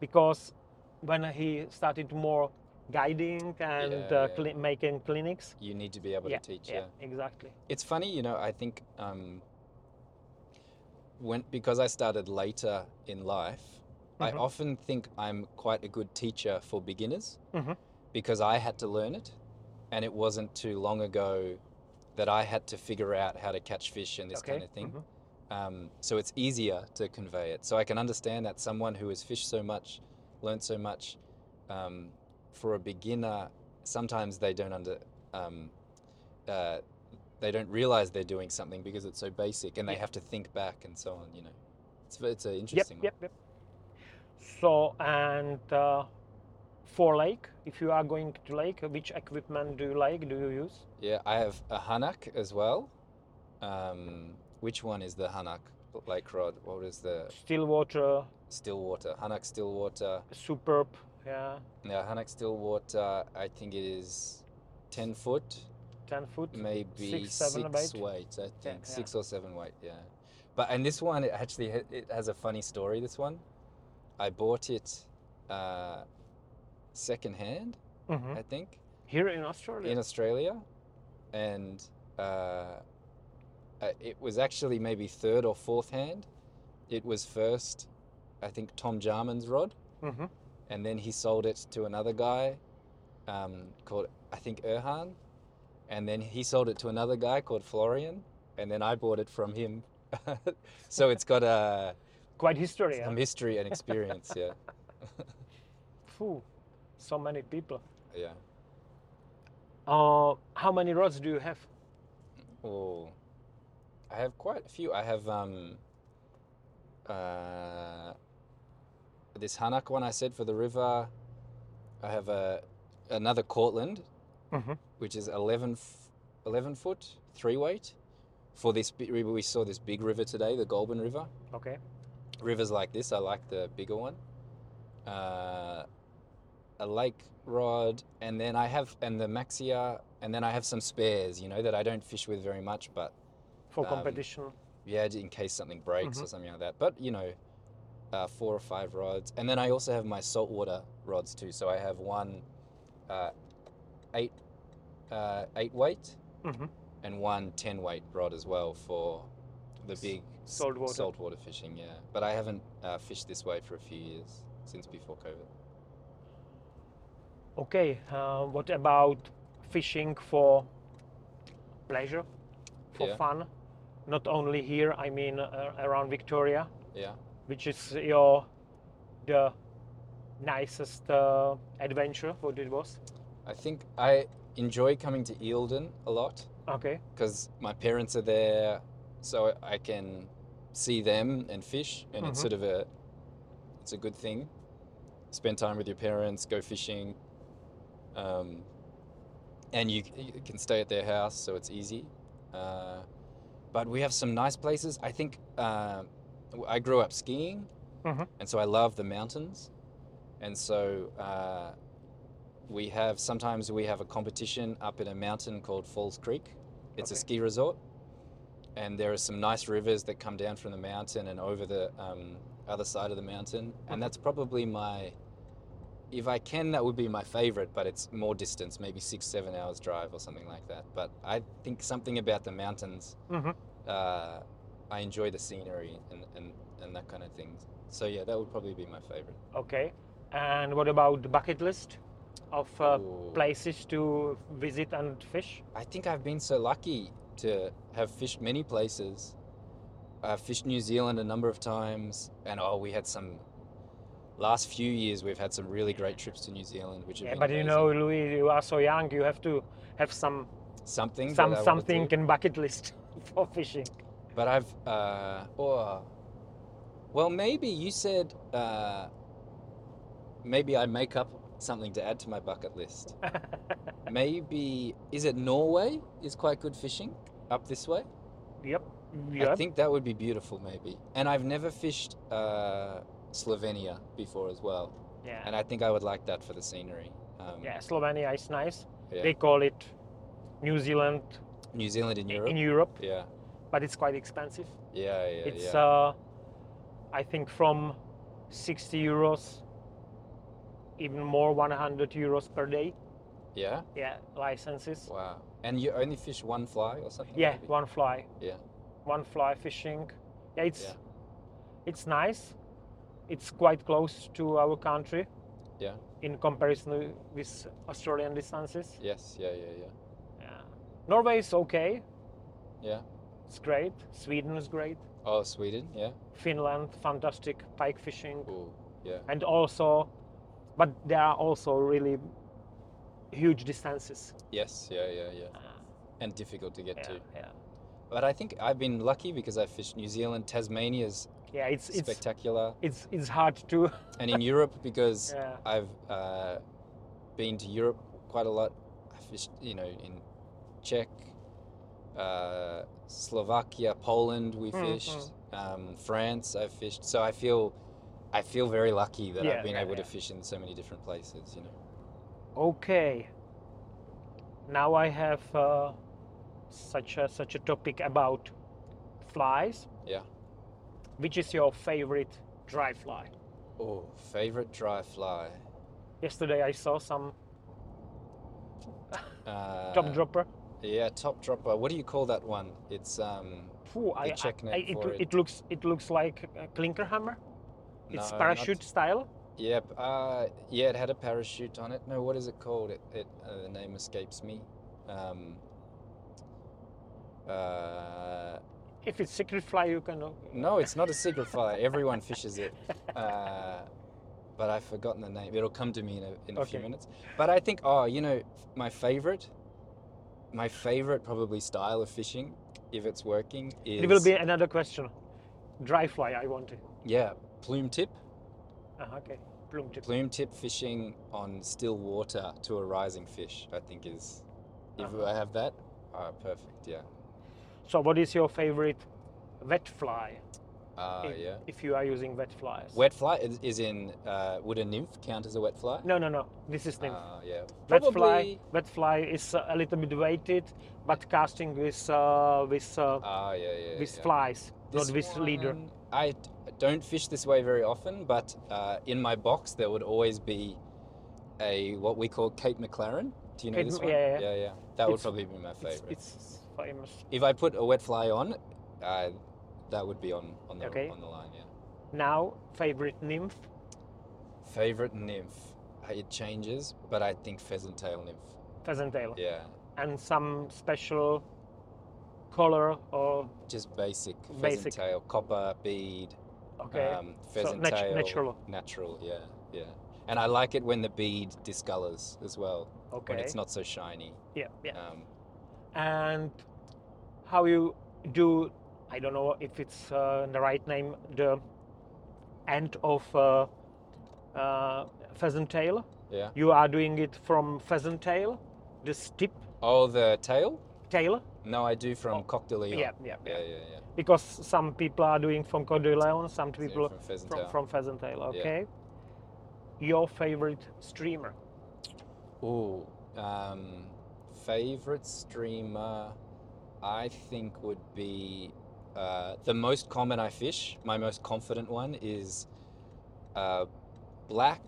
Speaker 1: because when he started more guiding and uh,
Speaker 2: Yeah, yeah.
Speaker 1: cli- making clinics.
Speaker 2: You need to be able to teach.
Speaker 1: yeah, exactly.
Speaker 2: It's funny, you know. I think um, when because I started later in life, I
Speaker 1: Mhm.
Speaker 2: often think I'm quite a good teacher for beginners
Speaker 1: Mhm.
Speaker 2: because I had to learn it, and it wasn't too long ago that I had to figure out how to catch fish and this
Speaker 1: okay.
Speaker 2: kind of thing.
Speaker 1: mhm.
Speaker 2: Um, so it's easier to convey it. So I can understand that someone who has fished so much, learned so much, um, for a beginner, sometimes they don't under, um, uh, they don't realize they're doing something because it's so basic, and they
Speaker 1: Yeah.
Speaker 2: have to think back and so on. You know, it's it's an
Speaker 1: Yep,
Speaker 2: interesting.
Speaker 1: yep, yep. So and uh, for lake, if you are going to lake, which equipment do you like? Do you use?
Speaker 2: One. Yeah, I have a hanak as well. Um, which one is the hanak lake rod? What is the
Speaker 1: Stillwater,
Speaker 2: stillwater hanak stillwater?
Speaker 1: superb. Yeah,
Speaker 2: Now, Hanak Stillwater, I think it is 10 foot,
Speaker 1: ten foot.
Speaker 2: maybe
Speaker 1: Six, seven, or
Speaker 2: six
Speaker 1: eight?
Speaker 2: weight, I think.
Speaker 1: yeah.
Speaker 2: Six or seven weight, yeah. But, and this one, it actually ha- it has a funny story, this one. I bought it uh, secondhand,
Speaker 1: Mhm.
Speaker 2: I think,
Speaker 1: Here in Australia.
Speaker 2: in Australia. And uh, uh, it was actually maybe third or fourth hand. It was first, I think, Tom Jarman's rod
Speaker 1: Mhm.
Speaker 2: and then he sold it to another guy um, called I think Erhan, and then he sold it to another guy called Florian, and then I bought it from him. so it's got a
Speaker 1: Quite history. Yeah?
Speaker 2: some history and experience. Yeah,
Speaker 1: Phew, so many people.
Speaker 2: yeah.
Speaker 1: Uh, how many rods do you have?
Speaker 2: Oh, I have quite a few. I have um, uh, this Hanak one I said for the river. I have a another Cortland
Speaker 1: Mhm.
Speaker 2: which is 11, f- 11 foot three weight for this big river we saw this big river today the goulburn river
Speaker 1: Okay.
Speaker 2: rivers like this i like the bigger one uh, a lake rod and then i have and the maxia and then i have some spares you know that i don't fish with very much but
Speaker 1: For
Speaker 2: Um,
Speaker 1: competition.
Speaker 2: yeah j- in case something breaks
Speaker 1: Mhm.
Speaker 2: or something like that but you know uh, four or five rods and then i also have my saltwater rods too so i have one uh, eight uh, eight weight
Speaker 1: Mhm.
Speaker 2: and one 10 weight rod as well for the big s-
Speaker 1: saltwater.
Speaker 2: saltwater fishing. Yeah, but I haven't uh, fished this way for a few years since before COVID.
Speaker 1: Okay. Uh, what about fishing for pleasure, for
Speaker 2: Yeah.
Speaker 1: fun? Not only here. I mean, uh, around Victoria,
Speaker 2: Yeah,
Speaker 1: which is your the nicest uh, adventure. What it was.
Speaker 2: I think I enjoy coming to Eildon a lot
Speaker 1: Okay.
Speaker 2: because my parents are there, so I can see them and fish, and it's
Speaker 1: Mhm.
Speaker 2: sort of a it's a good thing. Spend time with your parents, go fishing, um, and you, c- you can stay at their house, so it's easy. Uh, but we have some nice places. I think uh, w- I grew up skiing,
Speaker 1: Mhm.
Speaker 2: and so I love the mountains, and so. Uh, we have sometimes we have a competition up in a mountain called Falls Creek. It's a
Speaker 1: Okay.
Speaker 2: ski resort, and there are some nice rivers that come down from the mountain and over the um, other side of the mountain.
Speaker 1: Mhm.
Speaker 2: And that's probably my, if I can, that would be my favorite. But it's more distance, maybe six, seven hours drive or something like that. But I think something about the mountains.
Speaker 1: Mhm.
Speaker 2: Uh, I enjoy the scenery and, and, and that kind of thing. So yeah, that would probably be my favorite.
Speaker 1: Okay. And what about the bucket list of uh,
Speaker 2: Ooh.
Speaker 1: places to visit and fish?
Speaker 2: I think I've been so lucky to have fished many places. I've fished New Zealand a number of times, and oh, we had some. Last few years, we've had some really great trips to New Zealand, which have
Speaker 1: Yeah,
Speaker 2: been
Speaker 1: but you
Speaker 2: amazing.
Speaker 1: know, Louis, you are so young. You have to have some
Speaker 2: something, that I
Speaker 1: some
Speaker 2: wanna
Speaker 1: something
Speaker 2: do.
Speaker 1: in bucket list for fishing.
Speaker 2: But I've, uh, oh, well, maybe you said, uh, maybe I make up something to add to my bucket list. maybe is it Norway is quite good fishing up this way.
Speaker 1: Yep. Yep.
Speaker 2: I think that would be beautiful, maybe. And I've never fished uh, Slovenia before as well,
Speaker 1: yeah.
Speaker 2: and I think I would like that for the scenery. Uh, Um,
Speaker 1: Yeah, Slovenia is nice.
Speaker 2: yeah.
Speaker 1: They call it New Zealand
Speaker 2: New Zealand in
Speaker 1: i-
Speaker 2: Europe.
Speaker 1: in Europe,
Speaker 2: yeah,
Speaker 1: but it's quite expensive.
Speaker 2: yeah, yeah.
Speaker 1: it's
Speaker 2: yeah.
Speaker 1: uh, I think from 60 euros, even more 100 euros per day.
Speaker 2: yeah.
Speaker 1: Yeah, licenses.
Speaker 2: Wow. And you only fish one fly or something?
Speaker 1: Yeah,
Speaker 2: maybe?
Speaker 1: one fly.
Speaker 2: Yeah.
Speaker 1: One fly fishing. Yeah, it's
Speaker 2: Yeah.
Speaker 1: it's nice. It's quite close to our country.
Speaker 2: Yeah.
Speaker 1: In comparison with Australian distances.
Speaker 2: Yes. Yeah. Yeah. Yeah.
Speaker 1: Yeah. Norway is okay.
Speaker 2: Yeah.
Speaker 1: It's great. Sweden is great.
Speaker 2: Oh, Sweden. Yeah.
Speaker 1: Finland, fantastic pike fishing.
Speaker 2: Cool. Yeah.
Speaker 1: and also but there are also really huge distances
Speaker 2: Yes. Yeah. Yeah. Yeah.
Speaker 1: uh,
Speaker 2: And difficult to get
Speaker 1: yeah,
Speaker 2: to.
Speaker 1: yeah
Speaker 2: But I think I've been lucky because I fished New Zealand. Tasmania's
Speaker 1: yeah it's it's
Speaker 2: spectacular,
Speaker 1: it's it's hard to
Speaker 2: and in Europe because
Speaker 1: yeah
Speaker 2: I've uh, been to Europe quite a lot. I fished, you know, in Czech, uh, Slovakia, Poland. We
Speaker 1: Mm,
Speaker 2: fished um, France. I fished, so I feel, I feel very lucky that
Speaker 1: Yeah,
Speaker 2: I've been
Speaker 1: yeah,
Speaker 2: able to
Speaker 1: yeah.
Speaker 2: fish in so many different places. You know,
Speaker 1: okay now i have uh, such a such a topic about flies
Speaker 2: Yeah.
Speaker 1: which is your favorite dry fly
Speaker 2: oh, favorite dry fly.
Speaker 1: yesterday i saw some
Speaker 2: Uh,
Speaker 1: top dropper
Speaker 2: Yeah, top dropper. What do you call that one? It's um.
Speaker 1: Phew, I, I-
Speaker 2: check
Speaker 1: I-
Speaker 2: name
Speaker 1: it,
Speaker 2: for
Speaker 1: it.
Speaker 2: it.
Speaker 1: looks it looks like a clinker hammer it's
Speaker 2: no, not-
Speaker 1: parachute style
Speaker 2: Yep. Uh, yeah, it had a parachute on it. No, what is it called? It, it uh, the name escapes me. Um, uh,
Speaker 1: if it's secret fly you can uh,
Speaker 2: no, it's not a secret fire. Everyone fishes it. Uh, but I've forgotten the name. It'll come to me in a, in a few
Speaker 1: Okay.
Speaker 2: minutes. But I think, oh, you know, my favorite, my favorite probably style of fishing, if it's working, is
Speaker 1: It will be another question. Dry fly, I want to.
Speaker 2: yeah, plume tip.
Speaker 1: Uh, okay, plume tip.
Speaker 2: Plume tip fishing on still water to a rising fish, I think is. If
Speaker 1: Uh-huh.
Speaker 2: I have that, ah, perfect. Yeah.
Speaker 1: So, what is your favorite wet fly?
Speaker 2: Ah,
Speaker 1: if,
Speaker 2: yeah.
Speaker 1: If you are using wet flies.
Speaker 2: Wet fly is, is in. Uh, would a nymph count as a wet fly?
Speaker 1: No, no, no. This is nymph.
Speaker 2: Ah, yeah.
Speaker 1: wet
Speaker 2: Probably.
Speaker 1: fly. Wet fly is uh, a little bit weighted, but casting with uh, with uh,
Speaker 2: Ah, yeah, yeah.
Speaker 1: with
Speaker 2: yeah.
Speaker 1: flies,
Speaker 2: This
Speaker 1: not with leader.
Speaker 2: one, I d- don't fish this way very often, but uh, in my box there would always be a what we call Kate McLaren. Do you know
Speaker 1: Kate
Speaker 2: this
Speaker 1: M-
Speaker 2: one?
Speaker 1: yeah, yeah.
Speaker 2: yeah, That would
Speaker 1: It's-
Speaker 2: probably be my
Speaker 1: It's,
Speaker 2: favorite.
Speaker 1: it's famous.
Speaker 2: If I put a wet fly on, uh, that would be on on the
Speaker 1: Okay.
Speaker 2: on the line. Yeah.
Speaker 1: Now, favorite nymph.
Speaker 2: Favorite nymph. Uh, It changes, but I think pheasant tail nymph.
Speaker 1: Pheasant tail
Speaker 2: Yeah,
Speaker 1: and some special color or
Speaker 2: just basic pheasant
Speaker 1: Basic.
Speaker 2: tail, copper bead.
Speaker 1: okay
Speaker 2: Um, pheasant
Speaker 1: nat-
Speaker 2: tail.
Speaker 1: natural.
Speaker 2: Natural. Yeah, yeah. And I like it when the bead discolors as well,
Speaker 1: okay
Speaker 2: when it's not so shiny.
Speaker 1: yeah yeah
Speaker 2: Um,
Speaker 1: and how you do i don't know if it's uh, the right name the end of uh, uh, pheasant tail
Speaker 2: yeah.
Speaker 1: you are doing it from pheasant tail this tip
Speaker 2: Oh, the tail?
Speaker 1: tail
Speaker 2: No, I do from coq de
Speaker 1: yeah
Speaker 2: lion.
Speaker 1: Oh, yeah, yeah.
Speaker 2: yeah, yeah. yeah.
Speaker 1: because some people are doing from Côte de Leon, some
Speaker 2: Yeah,
Speaker 1: people
Speaker 2: from pheasant
Speaker 1: from,
Speaker 2: tail.
Speaker 1: from pheasant tail
Speaker 2: Yeah.
Speaker 1: okay your favorite streamer
Speaker 2: Ooh, um, favorite streamer, I think would be uh, the most common I fish. My most confident one is uh, black,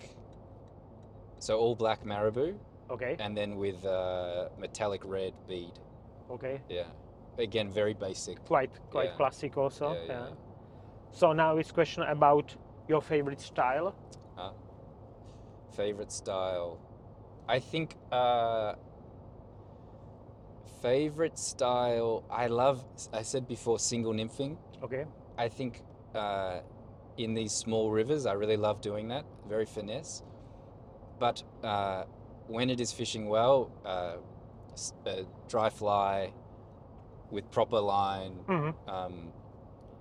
Speaker 2: so all black marabou,
Speaker 1: okay
Speaker 2: and then with uh, metallic red bead.
Speaker 1: okay
Speaker 2: Yeah, again, very basic.
Speaker 1: quite quite
Speaker 2: Yeah.
Speaker 1: classic also
Speaker 2: Yeah, yeah,
Speaker 1: yeah. so now it's question about your favorite style
Speaker 2: Favorite style, I think. Uh, favorite style, I love. I said before, single nymphing.
Speaker 1: okay
Speaker 2: I think uh, in these small rivers, I really love doing that. Very finesse. But uh, when it is fishing well, uh, s- uh, dry fly with proper line,
Speaker 1: Mhm.
Speaker 2: um,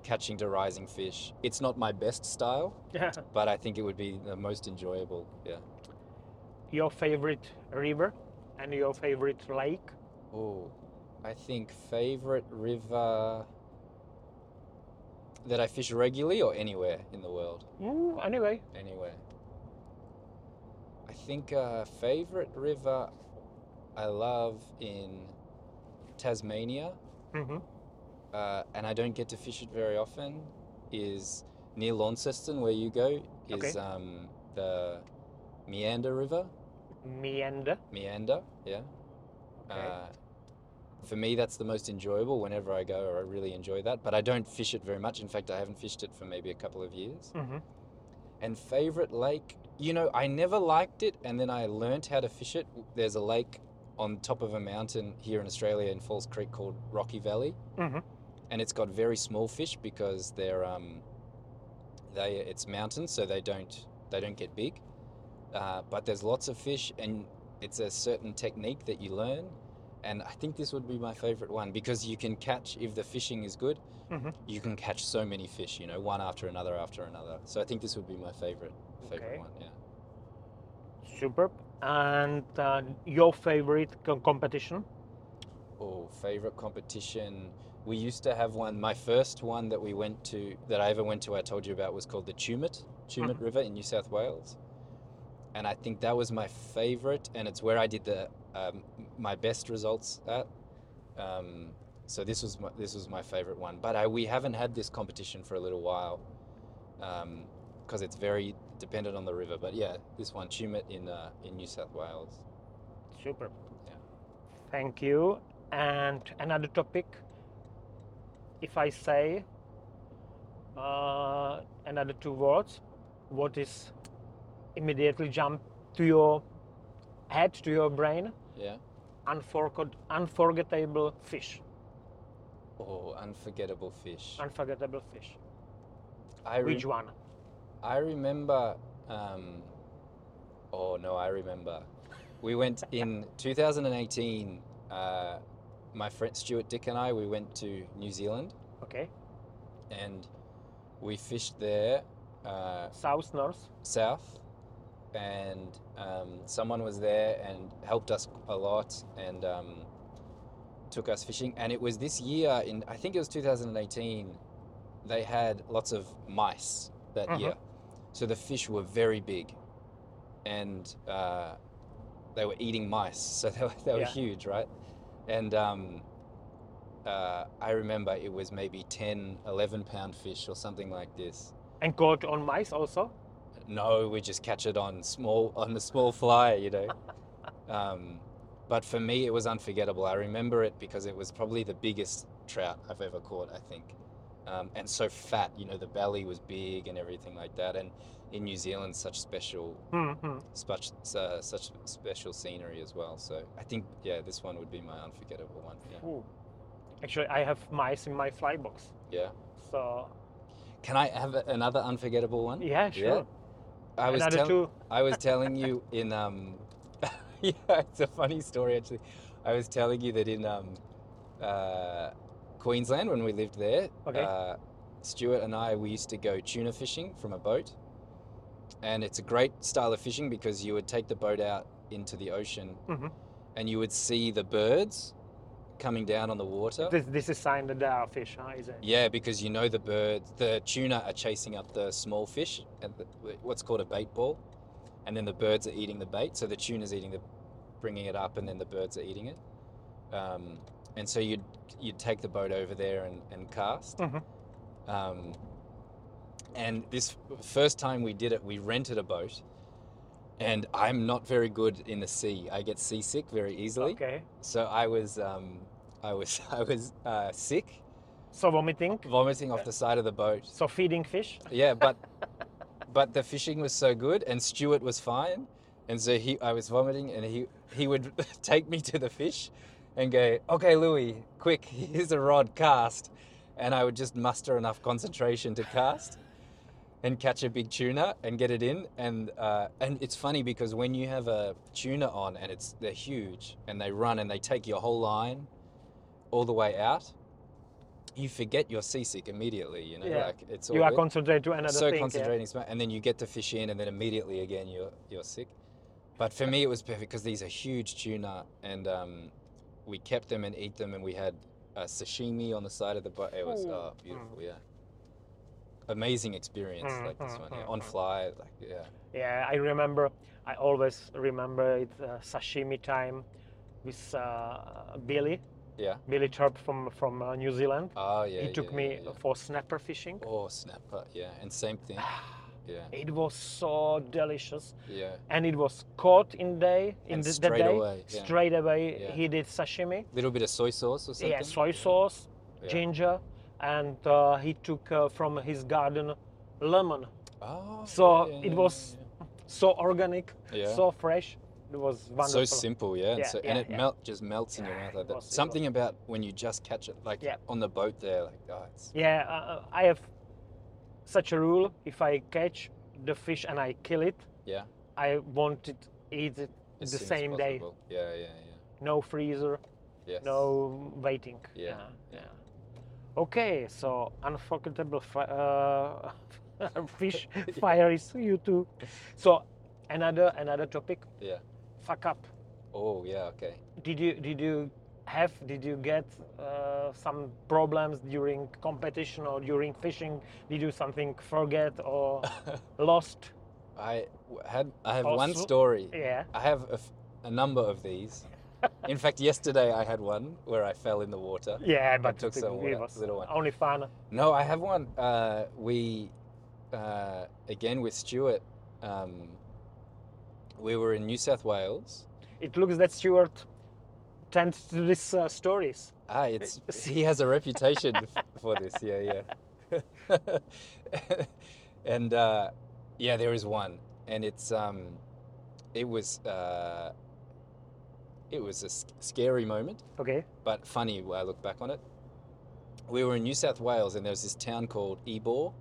Speaker 2: catching to rising fish. It's not my best style,
Speaker 1: Yeah.
Speaker 2: but I think it would be the most enjoyable. Yeah.
Speaker 1: Your favorite river and your favorite lake?
Speaker 2: Oh, I think favorite river that I fish regularly or anywhere in the world.
Speaker 1: Mm, anyway,
Speaker 2: anywhere. I think uh, favorite river I love in Tasmania,
Speaker 1: Mhm.
Speaker 2: uh, and I don't get to fish it very often, is near Launceston where you go. Is
Speaker 1: Okay.
Speaker 2: um, the Meander River.
Speaker 1: Meander.
Speaker 2: Meander, yeah.
Speaker 1: Okay.
Speaker 2: Uh, for me, that's the most enjoyable whenever I go. I really enjoy that, but I don't fish it very much. In fact, I haven't fished it for maybe a couple of years.
Speaker 1: Mhm.
Speaker 2: And favorite lake, you know, I never liked it, and then I learnt how to fish it. There's a lake on top of a mountain here in Australia in Falls Creek called Rocky Valley,
Speaker 1: Mhm.
Speaker 2: and it's got very small fish because they're um, they it's mountains, so they don't they don't get big. Uh, but there's lots of fish, and it's a certain technique that you learn. And I think this would be my favorite one because you can catch if the fishing is good,
Speaker 1: Mhm.
Speaker 2: you can catch so many fish, you know, one after another after another. So I think this would be my favorite favorite
Speaker 1: Okay.
Speaker 2: one. Yeah.
Speaker 1: Superb. And uh, your favorite co- competition?
Speaker 2: Oh, favorite competition. We used to have one. My first one that we went to, that I ever went to, I told you about, was called the Tumut, Tumut
Speaker 1: Mhm.
Speaker 2: River in New South Wales. And I think that was my favorite, and it's where I did the um, my best results at. Um, so this was my, this was my favorite one. But I, we haven't had this competition for a little while because it's very dependent on the river. But yeah, this one Tumut in uh, in New South Wales.
Speaker 1: Superb.
Speaker 2: Yeah.
Speaker 1: Thank you. And another topic. If I say uh, another two words, what is immediately jump to your head, to your brain?
Speaker 2: Yeah.
Speaker 1: Unforgot, unforgettable fish.
Speaker 2: Oh, unforgettable fish.
Speaker 1: Unforgettable fish.
Speaker 2: I re-
Speaker 1: Which one?
Speaker 2: I remember. Um, oh no, I remember. We went in 2018. Uh, my friend Stuart Dick and I we went to New Zealand
Speaker 1: Okay.
Speaker 2: and we fished there uh,
Speaker 1: South, north.
Speaker 2: south, and um, someone was there and helped us a lot and um, took us fishing. And it was this year in I think it was 2018. They had lots of mice that
Speaker 1: Mhm.
Speaker 2: year, so the fish were very big, and uh, they were eating mice, so they were, they were
Speaker 1: Yeah.
Speaker 2: huge, right? And um, uh, I remember it was maybe 10, 11 pound fish or something like this.
Speaker 1: And caught on mice also.
Speaker 2: No, we just catch it on small on the small fly, you know. Um, but for me, it was unforgettable. I remember it because it was probably the biggest trout I've ever caught, I think, um, and so fat. You know, the belly was big and everything like that. And in New Zealand, such special,
Speaker 1: hmm
Speaker 2: such uh, such special scenery as well. So I think, yeah, this one would be my unforgettable one. Yeah.
Speaker 1: Ooh. Actually, I have mice in my fly box.
Speaker 2: yeah.
Speaker 1: So
Speaker 2: Can I have a- another unforgettable one?
Speaker 1: yeah, sure.
Speaker 2: I was
Speaker 1: another
Speaker 2: tell-
Speaker 1: two.
Speaker 2: I was telling you in um, yeah, it's a funny story actually. I was telling you that in um, uh, Queensland when we lived there,
Speaker 1: Okay.
Speaker 2: uh, Stuart and I we used to go tuna fishing from a boat, and it's a great style of fishing because you would take the boat out into the ocean,
Speaker 1: Mhm.
Speaker 2: and you would see the birds coming down on the water.
Speaker 1: This, this is sign that there are fish, huh? Is it?
Speaker 2: Yeah, because you know the birds, the tuna are chasing up the small fish, and the, what's called a bait ball, and then the birds are eating the bait. So the tuna's eating the, bringing it up, and then the birds are eating it. Um, and so you'd you'd take the boat over there and, and cast.
Speaker 1: Mhm.
Speaker 2: Um, and this first time we did it, we rented a boat, and I'm not very good in the sea. I get seasick very easily.
Speaker 1: Okay.
Speaker 2: So I was um, I was I was uh, sick
Speaker 1: So vomiting.
Speaker 2: vomiting off the side of the boat.
Speaker 1: So feeding fish.
Speaker 2: Yeah, but but the fishing was so good, and Stuart was fine, and so he I was vomiting, and he he would take me to the fish, and go, okay, Louis, quick, here's a rod, cast, and I would just muster enough concentration to cast. And catch a big tuna and get it in, and uh, and it's funny because when you have a tuna on and it's they're huge and they run and they take your whole line all the way out, you forget you're seasick immediately. You know,
Speaker 1: Yeah.
Speaker 2: like it's
Speaker 1: you are
Speaker 2: all-
Speaker 1: concentrated to another
Speaker 2: so
Speaker 1: thing. yeah.
Speaker 2: concentrating, it's ma- and then you get the fish in, and then immediately again you're you're sick. But for me, it was perfect because these are huge tuna, and um, we kept them and eat them, and we had uh, sashimi on the side of the boat. It was
Speaker 1: Ooh.
Speaker 2: oh, beautiful, yeah. amazing experience
Speaker 1: Mm,
Speaker 2: like this
Speaker 1: mm,
Speaker 2: one yeah,
Speaker 1: mm,
Speaker 2: on
Speaker 1: mm.
Speaker 2: fly. Like yeah,
Speaker 1: Yeah, I remember. I always remember it uh, sashimi time with uh, Billy,
Speaker 2: yeah.
Speaker 1: Billy Turp from from uh, New Zealand.
Speaker 2: Oh yeah.
Speaker 1: he took
Speaker 2: yeah,
Speaker 1: me
Speaker 2: yeah, yeah.
Speaker 1: for snapper fishing.
Speaker 2: Oh snapper. Yeah, and same thing. Yeah,
Speaker 1: It was so delicious,
Speaker 2: yeah.
Speaker 1: and it was caught in day in
Speaker 2: And
Speaker 1: the, the
Speaker 2: straight
Speaker 1: day
Speaker 2: away, yeah.
Speaker 1: straight away.
Speaker 2: Yeah.
Speaker 1: He did sashimi.
Speaker 2: Little bit of soy sauce or something.
Speaker 1: Yeah, soy sauce,
Speaker 2: Yeah.
Speaker 1: ginger, and uh, he took uh, from his garden lemon.
Speaker 2: Oh,
Speaker 1: So
Speaker 2: yeah,
Speaker 1: it
Speaker 2: yeah,
Speaker 1: was so organic,
Speaker 2: Yeah.
Speaker 1: so fresh. It was
Speaker 2: so
Speaker 1: wonderful.
Speaker 2: simple, yeah. And,
Speaker 1: Yeah,
Speaker 2: so,
Speaker 1: yeah,
Speaker 2: and it
Speaker 1: yeah.
Speaker 2: melt just melts in your
Speaker 1: Yeah,
Speaker 2: mouth
Speaker 1: it
Speaker 2: like that.
Speaker 1: was- it was.
Speaker 2: Something about when you just catch it, like
Speaker 1: Yeah.
Speaker 2: on the boat there, like oh, it's
Speaker 1: Yeah, uh, I have such a rule. If I catch the fish and I kill it,
Speaker 2: yeah.
Speaker 1: I want it eat it
Speaker 2: as
Speaker 1: the
Speaker 2: soon as
Speaker 1: same day.
Speaker 2: possible. Yeah, yeah,
Speaker 1: No freezer,
Speaker 2: yeah. Yes.
Speaker 1: no waiting. Ah.
Speaker 2: Yeah, yeah.
Speaker 1: Okay, so unforgettable fi- uh, fish fire is you too. So another another topic.
Speaker 2: Yeah.
Speaker 1: Fuck up.
Speaker 2: Oh yeah. Okay.
Speaker 1: Did you did you have did you get uh, some problems during competition or during fishing? Did you something forget or lost?
Speaker 2: I w- had I have one
Speaker 1: Also-
Speaker 2: story.
Speaker 1: Oh, Yeah.
Speaker 2: I have a, f- a number of these. in fact, yesterday I had one where I fell in the water.
Speaker 1: Yeah, but
Speaker 2: took
Speaker 1: it
Speaker 2: some
Speaker 1: gave
Speaker 2: wa-
Speaker 1: us
Speaker 2: little one.
Speaker 1: only fun.
Speaker 2: No, I have one. Uh, we, uh, again with Stuart, um, we were in New South Wales.
Speaker 1: It looks that Stuart tends to these uh, stories.
Speaker 2: Ah, it's he has a reputation f- for this. Yeah, yeah. and uh, yeah, there is one, and it's um, it was uh, it was a s- scary moment.
Speaker 1: Okay.
Speaker 2: but funny when I look back on it. We were in New South Wales, and there was this town called Ebor,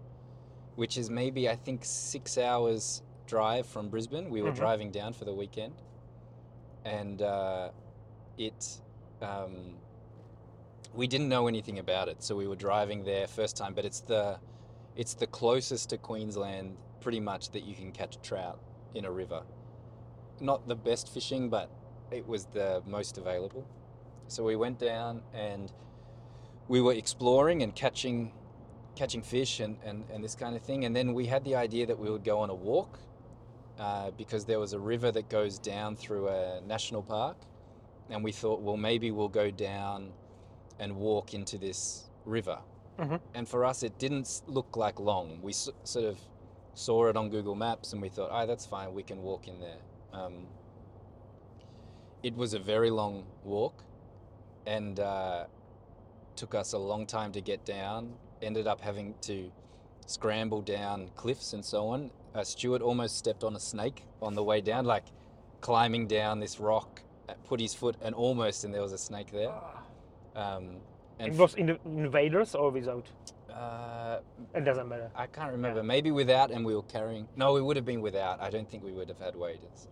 Speaker 2: which is maybe I think six hours drive from Brisbane. We were
Speaker 1: Mhm.
Speaker 2: driving down for the weekend, and uh, it um, we didn't know anything about it, so we were driving there first time. But it's the it's the closest to Queensland, pretty much, that you can catch trout in a river. Not the best fishing, but it was the most available. So we went down and we were exploring and catching catching fish and, and, and this kind of thing. And then we had the idea that we would go on a walk uh, because there was a river that goes down through a national park. And we thought, well, maybe we'll go down and walk into this river.
Speaker 1: Mhm.
Speaker 2: And for us, it didn't s- look like long. We s- sort of saw it on Google Maps and we thought, oh, that's fine, we can walk in there. Um, it was a very long walk and uh, took us a long time to get down. Ended up having to scramble down cliffs and so on. Uh, Stuart almost stepped on a snake on the way down, like climbing down this rock, uh, put his foot, and almost, and there was a snake there. Um, and
Speaker 1: it was in the invaders or without?
Speaker 2: uh,
Speaker 1: It doesn't matter.
Speaker 2: I can't remember. Maybe without, and we were carrying. No, we would have been without. I don't think we would have had waders.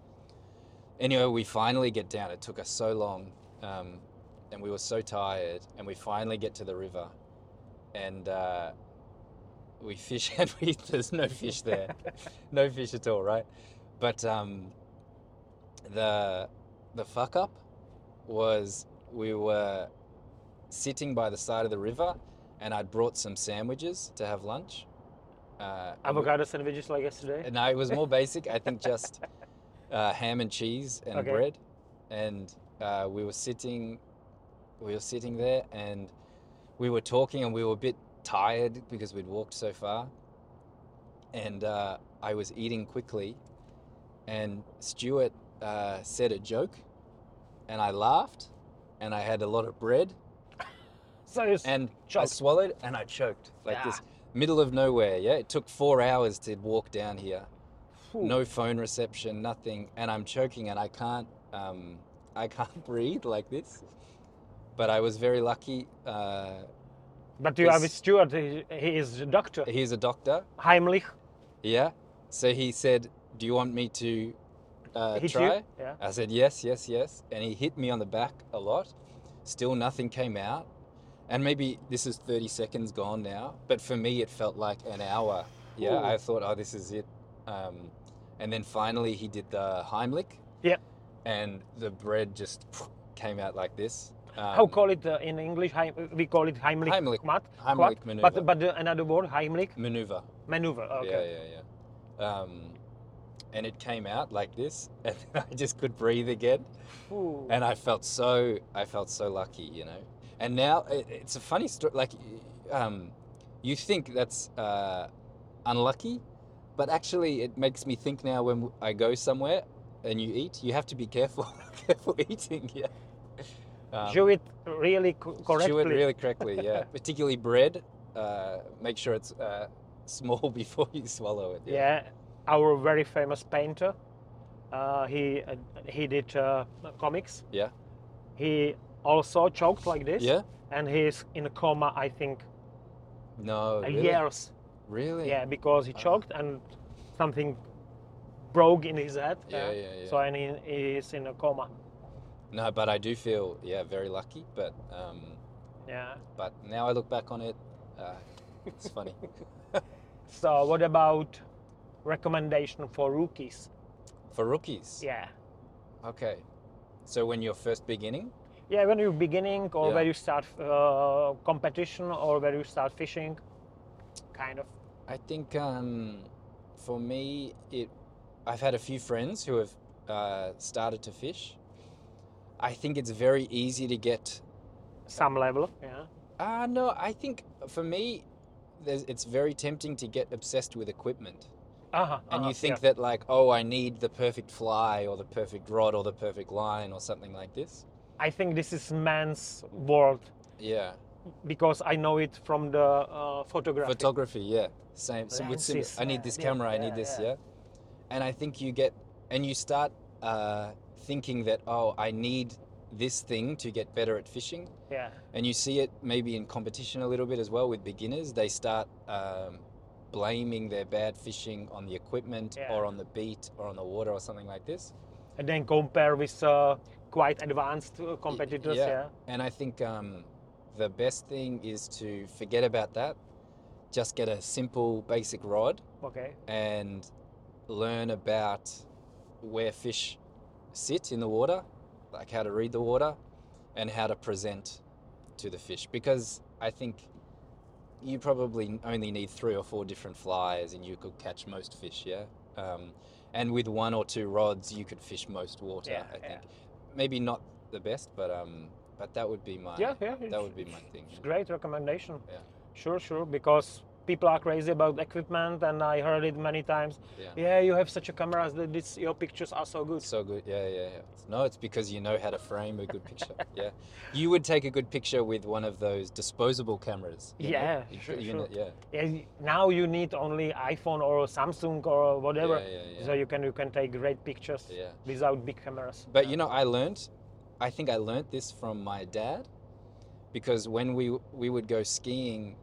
Speaker 2: Anyway, we finally get down. It took us so long, um, and we were so tired. And we finally get to the river, and uh, we fish, and we, there's no fish there, no fish at all, right? But um, the the fuck up was we were sitting by the side of the river, and I'd brought some sandwiches to have lunch. Uh, and we-
Speaker 1: Avocado sandwiches like yesterday.
Speaker 2: no, it was more basic. I think just uh, ham and cheese and
Speaker 1: Okay.
Speaker 2: bread, and uh, we were sitting, we were sitting there, and we were talking, and we were a bit tired because we'd walked so far, and uh, I was eating quickly, and Stuart uh, said a joke, and I laughed, and I had a lot of bread,
Speaker 1: So it's
Speaker 2: and I
Speaker 1: Choked.
Speaker 2: swallowed and I choked like
Speaker 1: Ah.
Speaker 2: this middle of nowhere. Yeah, it took four hours to walk down here.
Speaker 1: Phew.
Speaker 2: No phone reception, nothing, and I'm choking and I can't, um, I can't breathe like this. But I was very lucky. Uh,
Speaker 1: But you are with
Speaker 2: this-
Speaker 1: Stuart. He, he is a doctor.
Speaker 2: he's a doctor.
Speaker 1: Heimlich.
Speaker 2: Yeah. So he said, "Do you want me to uh,
Speaker 1: hit
Speaker 2: try?"
Speaker 1: you. Yeah.
Speaker 2: I said, yes, yes, yes. And he hit me on the back a lot. Still nothing came out. And maybe this is 30 seconds gone now, but for me, it felt like an hour. Yeah,
Speaker 1: Ooh.
Speaker 2: I thought, oh, this is it. Um, and then finally, he did the Heimlich.
Speaker 1: Yep.
Speaker 2: And the bread just came out like this.
Speaker 1: How
Speaker 2: Um,
Speaker 1: call it uh, in English? Heim, we call it Heimlich,
Speaker 2: Heimlich.
Speaker 1: Mat,
Speaker 2: Heimlich
Speaker 1: Quad,
Speaker 2: maneuver.
Speaker 1: But but uh, another word Heimlich
Speaker 2: maneuver.
Speaker 1: maneuver. Okay.
Speaker 2: Yeah, yeah, yeah. Um, and it came out like this, and then I just could breathe again.
Speaker 1: Ooh.
Speaker 2: and I felt so I felt so lucky, you know. And now it, it's a funny story. Like, um, you think that's uh, unlucky, but actually it makes me think now when I go somewhere and you eat, you have to be careful, careful eating. Yeah. Um,
Speaker 1: Do it really co- correctly.
Speaker 2: Chew it really correctly. Yeah. Particularly bread. Uh, make sure it's uh, small before you swallow it.
Speaker 1: yeah our very famous painter uh, he uh, he did uh, comics
Speaker 2: Yeah.
Speaker 1: he also choked like this
Speaker 2: Yeah?
Speaker 1: and he's in a coma i think
Speaker 2: No.
Speaker 1: uh,
Speaker 2: Oh, Really?
Speaker 1: years
Speaker 2: Really?
Speaker 1: yeah because he
Speaker 2: Ah.
Speaker 1: choked and something broke in his head
Speaker 2: Yeah, yeah, yeah.
Speaker 1: so and he, he is in a coma
Speaker 2: No, but I do feel yeah very lucky. But um,
Speaker 1: yeah
Speaker 2: but now I look back on it, uh, it's funny.
Speaker 1: so what about recommendation for rookies
Speaker 2: For rookies,
Speaker 1: yeah
Speaker 2: okay. So when you're first beginning,
Speaker 1: yeah when you're beginning or
Speaker 2: Yeah.
Speaker 1: where you start uh, competition or where you start fishing kind of
Speaker 2: I think um, for me, it. I've had a few friends who have uh, started to fish. I think it's very easy to get.
Speaker 1: some level yeah
Speaker 2: Ah, no, I think for me, there's, it's very tempting to get obsessed with equipment.
Speaker 1: Uh-huh,
Speaker 2: and
Speaker 1: uh-huh,
Speaker 2: you think
Speaker 1: yeah.
Speaker 2: that like oh i need the perfect fly or the perfect rod or the perfect line or something like this
Speaker 1: I think this is man's world
Speaker 2: yeah
Speaker 1: because I know it from the uh, photography.
Speaker 2: photography yeah same so with sim-
Speaker 1: Lenses,
Speaker 2: i need
Speaker 1: yeah,
Speaker 2: this
Speaker 1: yeah,
Speaker 2: camera i
Speaker 1: yeah,
Speaker 2: need this
Speaker 1: yeah.
Speaker 2: yeah. and i think you get and you start uh, thinking that oh i need this thing to get better at fishing
Speaker 1: yeah,
Speaker 2: and you see it maybe in competition a little bit as well with beginners they start um, blaming their bad fishing on the equipment
Speaker 1: Yeah.
Speaker 2: or on the beat or on the water or something like this
Speaker 1: and then compare with uh, quite advanced uh, competitors. Yeah.
Speaker 2: yeah. And I think um, the best thing is to forget about that. Just get a simple, basic rod
Speaker 1: Okay.
Speaker 2: and learn about where fish sit in the water, like how to read the water and how to present to the fish. Because I think you probably only need three or four different flies and you could catch most fish, yeah? Um, and with one or two rods, you could fish most water,
Speaker 1: Yeah,
Speaker 2: I think.
Speaker 1: yeah.
Speaker 2: Maybe not the best, but um, but that would be my
Speaker 1: Yeah, yeah. it's-
Speaker 2: that would be my thing.
Speaker 1: It's great recommendation.
Speaker 2: Yeah.
Speaker 1: Sure, sure. Because people are crazy about equipment, and I heard it many times.
Speaker 2: Yeah.
Speaker 1: Yeah, you have such a camera that this, your pictures are so good.
Speaker 2: So good, yeah, yeah, yeah. No, it's because you know how to frame a good picture. yeah, you would take a good picture with one of those disposable cameras. you know?
Speaker 1: Yeah,
Speaker 2: You
Speaker 1: sure,
Speaker 2: could- you
Speaker 1: sure.
Speaker 2: know- yeah,
Speaker 1: Yeah, y- now you need only iPhone or Samsung or whatever,
Speaker 2: Yeah, yeah, yeah.
Speaker 1: so you can you can take great pictures
Speaker 2: yeah.
Speaker 1: without big cameras.
Speaker 2: But you know, I learned. I think I learned this from my dad, because when we we would go skiing,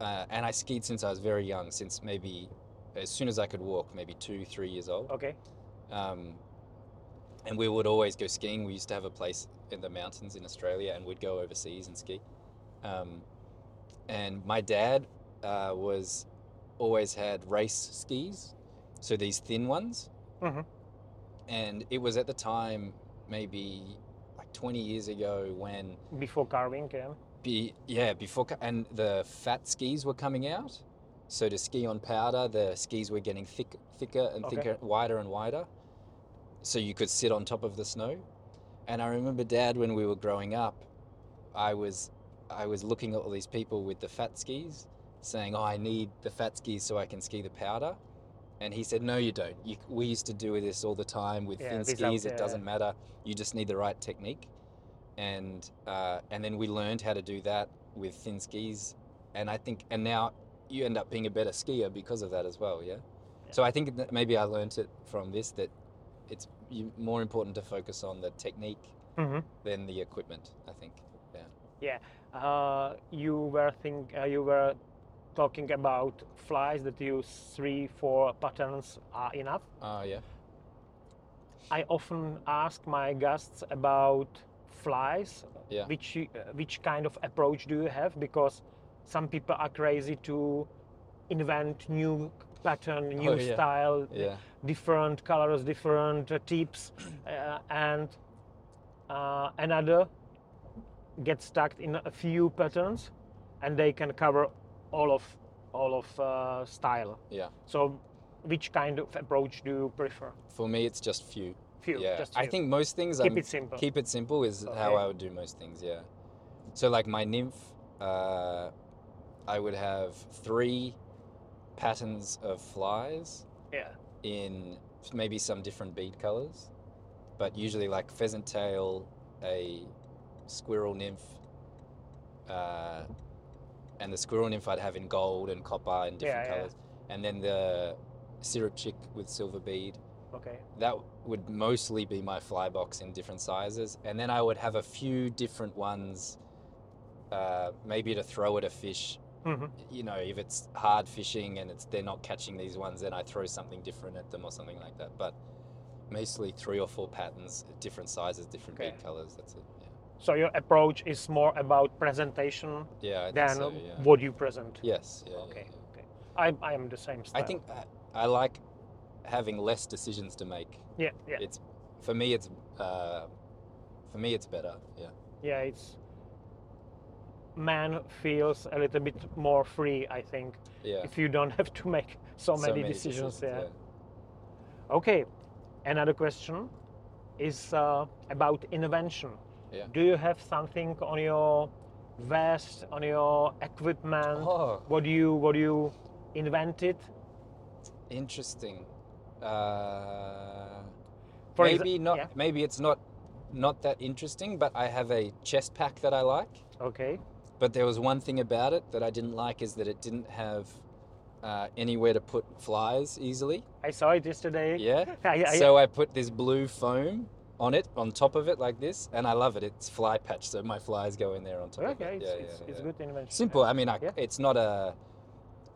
Speaker 2: uh, and I skied since I was very young, since maybe as soon as I could walk, maybe two, three years old.
Speaker 1: okay.
Speaker 2: Um, and we would always go skiing. We used to have a place in the mountains in Australia, and we'd go overseas and ski. Um, and my dad uh, was always had race skis, so these thin ones.
Speaker 1: Mhm.
Speaker 2: And it was at the time, maybe like 20 years ago, when
Speaker 1: before carving yeah
Speaker 2: be yeah before co- and the fat skis were coming out so to ski on powder the skis were getting thick thicker and
Speaker 1: Okay.
Speaker 2: thicker wider and wider so you could sit on top of the snow and i remember dad when we were growing up i was i was looking at all these people with the fat skis saying oh i need the fat skis so i can ski the powder and he said no you don't you, we used to do this all the time with
Speaker 1: Yeah,
Speaker 2: thin
Speaker 1: without,
Speaker 2: skis it
Speaker 1: uh,
Speaker 2: doesn't matter you just need the right technique and uh, and then we learned how to do that with thin skis and i think and now you end up being a better skier because of that as well yeah, so i think that maybe i learned it from this that it's you- more important to focus on the technique
Speaker 1: Mhm.
Speaker 2: than the equipment i think
Speaker 1: uh, you were think uh, you were talking about flies that use three four patterns are enough
Speaker 2: oh yeah
Speaker 1: i often ask my guests about flies
Speaker 2: Yeah.
Speaker 1: which you- uh, which kind of approach do you have because some people are crazy to invent new pattern new
Speaker 2: Oh, yeah.
Speaker 1: style
Speaker 2: yeah
Speaker 1: different colors, different uh, tips, uh, and uh, another get stuck in a few patterns, and they can cover all of all of uh, style.
Speaker 2: Yeah.
Speaker 1: So, which kind of approach do you prefer?
Speaker 2: For me, it's just few.
Speaker 1: Few.
Speaker 2: yeah.
Speaker 1: just
Speaker 2: I
Speaker 1: few.
Speaker 2: think most things
Speaker 1: keep
Speaker 2: I'm
Speaker 1: it simple.
Speaker 2: keep it simple is how
Speaker 1: Okay.
Speaker 2: I would do most things. Yeah. So like my nymph, uh, I would have three patterns of flies
Speaker 1: yeah.
Speaker 2: in maybe some different bead colors, but usually like pheasant tail, a squirrel nymph, uh, and the squirrel nymph I'd have in gold and copper and different
Speaker 1: Yeah, yeah.
Speaker 2: colors, and then the syrup chick with silver bead
Speaker 1: Okay.
Speaker 2: that would mostly be my fly box in different sizes and then i would have a few different ones uh, maybe to throw at a fish
Speaker 1: Mhm.
Speaker 2: you know if it's hard fishing and it's they're not catching these ones then i throw something different at them or something like that but mostly three or four patterns different sizes different
Speaker 1: Okay.
Speaker 2: bead colors that's it
Speaker 1: So your approach is more about presentation
Speaker 2: yeah, yeah I think
Speaker 1: than
Speaker 2: so, yeah.
Speaker 1: what you present.
Speaker 2: yes yeah, yeah,
Speaker 1: Okay.
Speaker 2: yeah.
Speaker 1: Okay. I I am the same. Style.
Speaker 2: i think I, I like having less decisions to make
Speaker 1: Yeah. Yeah.
Speaker 2: it's for me it's uh, for me it's better yeah
Speaker 1: yeah it's man feels a little bit more free i think
Speaker 2: yeah
Speaker 1: if you don't have to make so, many, decisions, yeah. okay another question is uh, about invention
Speaker 2: Yeah.
Speaker 1: do you have something on your vest on your equipment
Speaker 2: Oh,
Speaker 1: what do you what do you invented
Speaker 2: interesting. Uh,
Speaker 1: For exa-
Speaker 2: maybe not.
Speaker 1: yeah.
Speaker 2: Maybe it's not not that interesting. But I have a chest pack that I like.
Speaker 1: okay
Speaker 2: But there was one thing about it that I didn't like is that it didn't have uh, anywhere to put flies easily.
Speaker 1: i saw it yesterday
Speaker 2: Yeah.
Speaker 1: I, I,
Speaker 2: so I put this blue foam on it, on top of it, like this, and I love it. It's fly patch, so my flies go in there on top. of
Speaker 1: okay
Speaker 2: it.
Speaker 1: it's,
Speaker 2: Yeah,
Speaker 1: it's,
Speaker 2: yeah,
Speaker 1: it's
Speaker 2: yeah.
Speaker 1: good invention
Speaker 2: Simple. I mean, I,
Speaker 1: Yeah.
Speaker 2: it's not a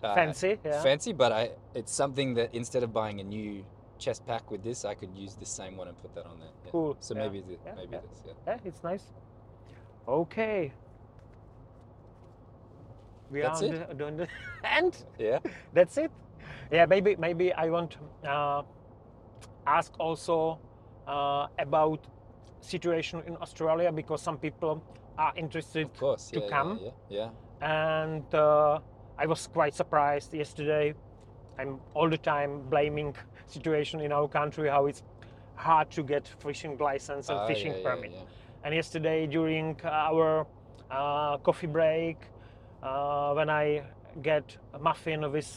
Speaker 2: uh,
Speaker 1: fancy yeah
Speaker 2: fancy, but I it's something that instead of buying a new chest pack with this, I could use the same one and put that on there. yeah.
Speaker 1: Cool,
Speaker 2: So
Speaker 1: yeah,
Speaker 2: maybe the,
Speaker 1: yeah,
Speaker 2: maybe
Speaker 1: yeah.
Speaker 2: this. Yeah.
Speaker 1: Yeah, it's nice. Okay. We
Speaker 2: That's
Speaker 1: are
Speaker 2: it?
Speaker 1: on the- doing the and
Speaker 2: Yeah.
Speaker 1: that's it. Yeah, maybe maybe I want to uh, ask also uh, about situation in Australia because some people are interested
Speaker 2: Of course.
Speaker 1: to
Speaker 2: yeah,
Speaker 1: come.
Speaker 2: Yeah. Yeah.
Speaker 1: and uh, I was quite surprised yesterday. I'm all the time blaming situation in our country how it's hard to get fishing license and
Speaker 2: Ah,
Speaker 1: fishing
Speaker 2: yeah, yeah,
Speaker 1: permit.
Speaker 2: yeah.
Speaker 1: And yesterday, during our uh, coffee break, uh, when I get a muffin with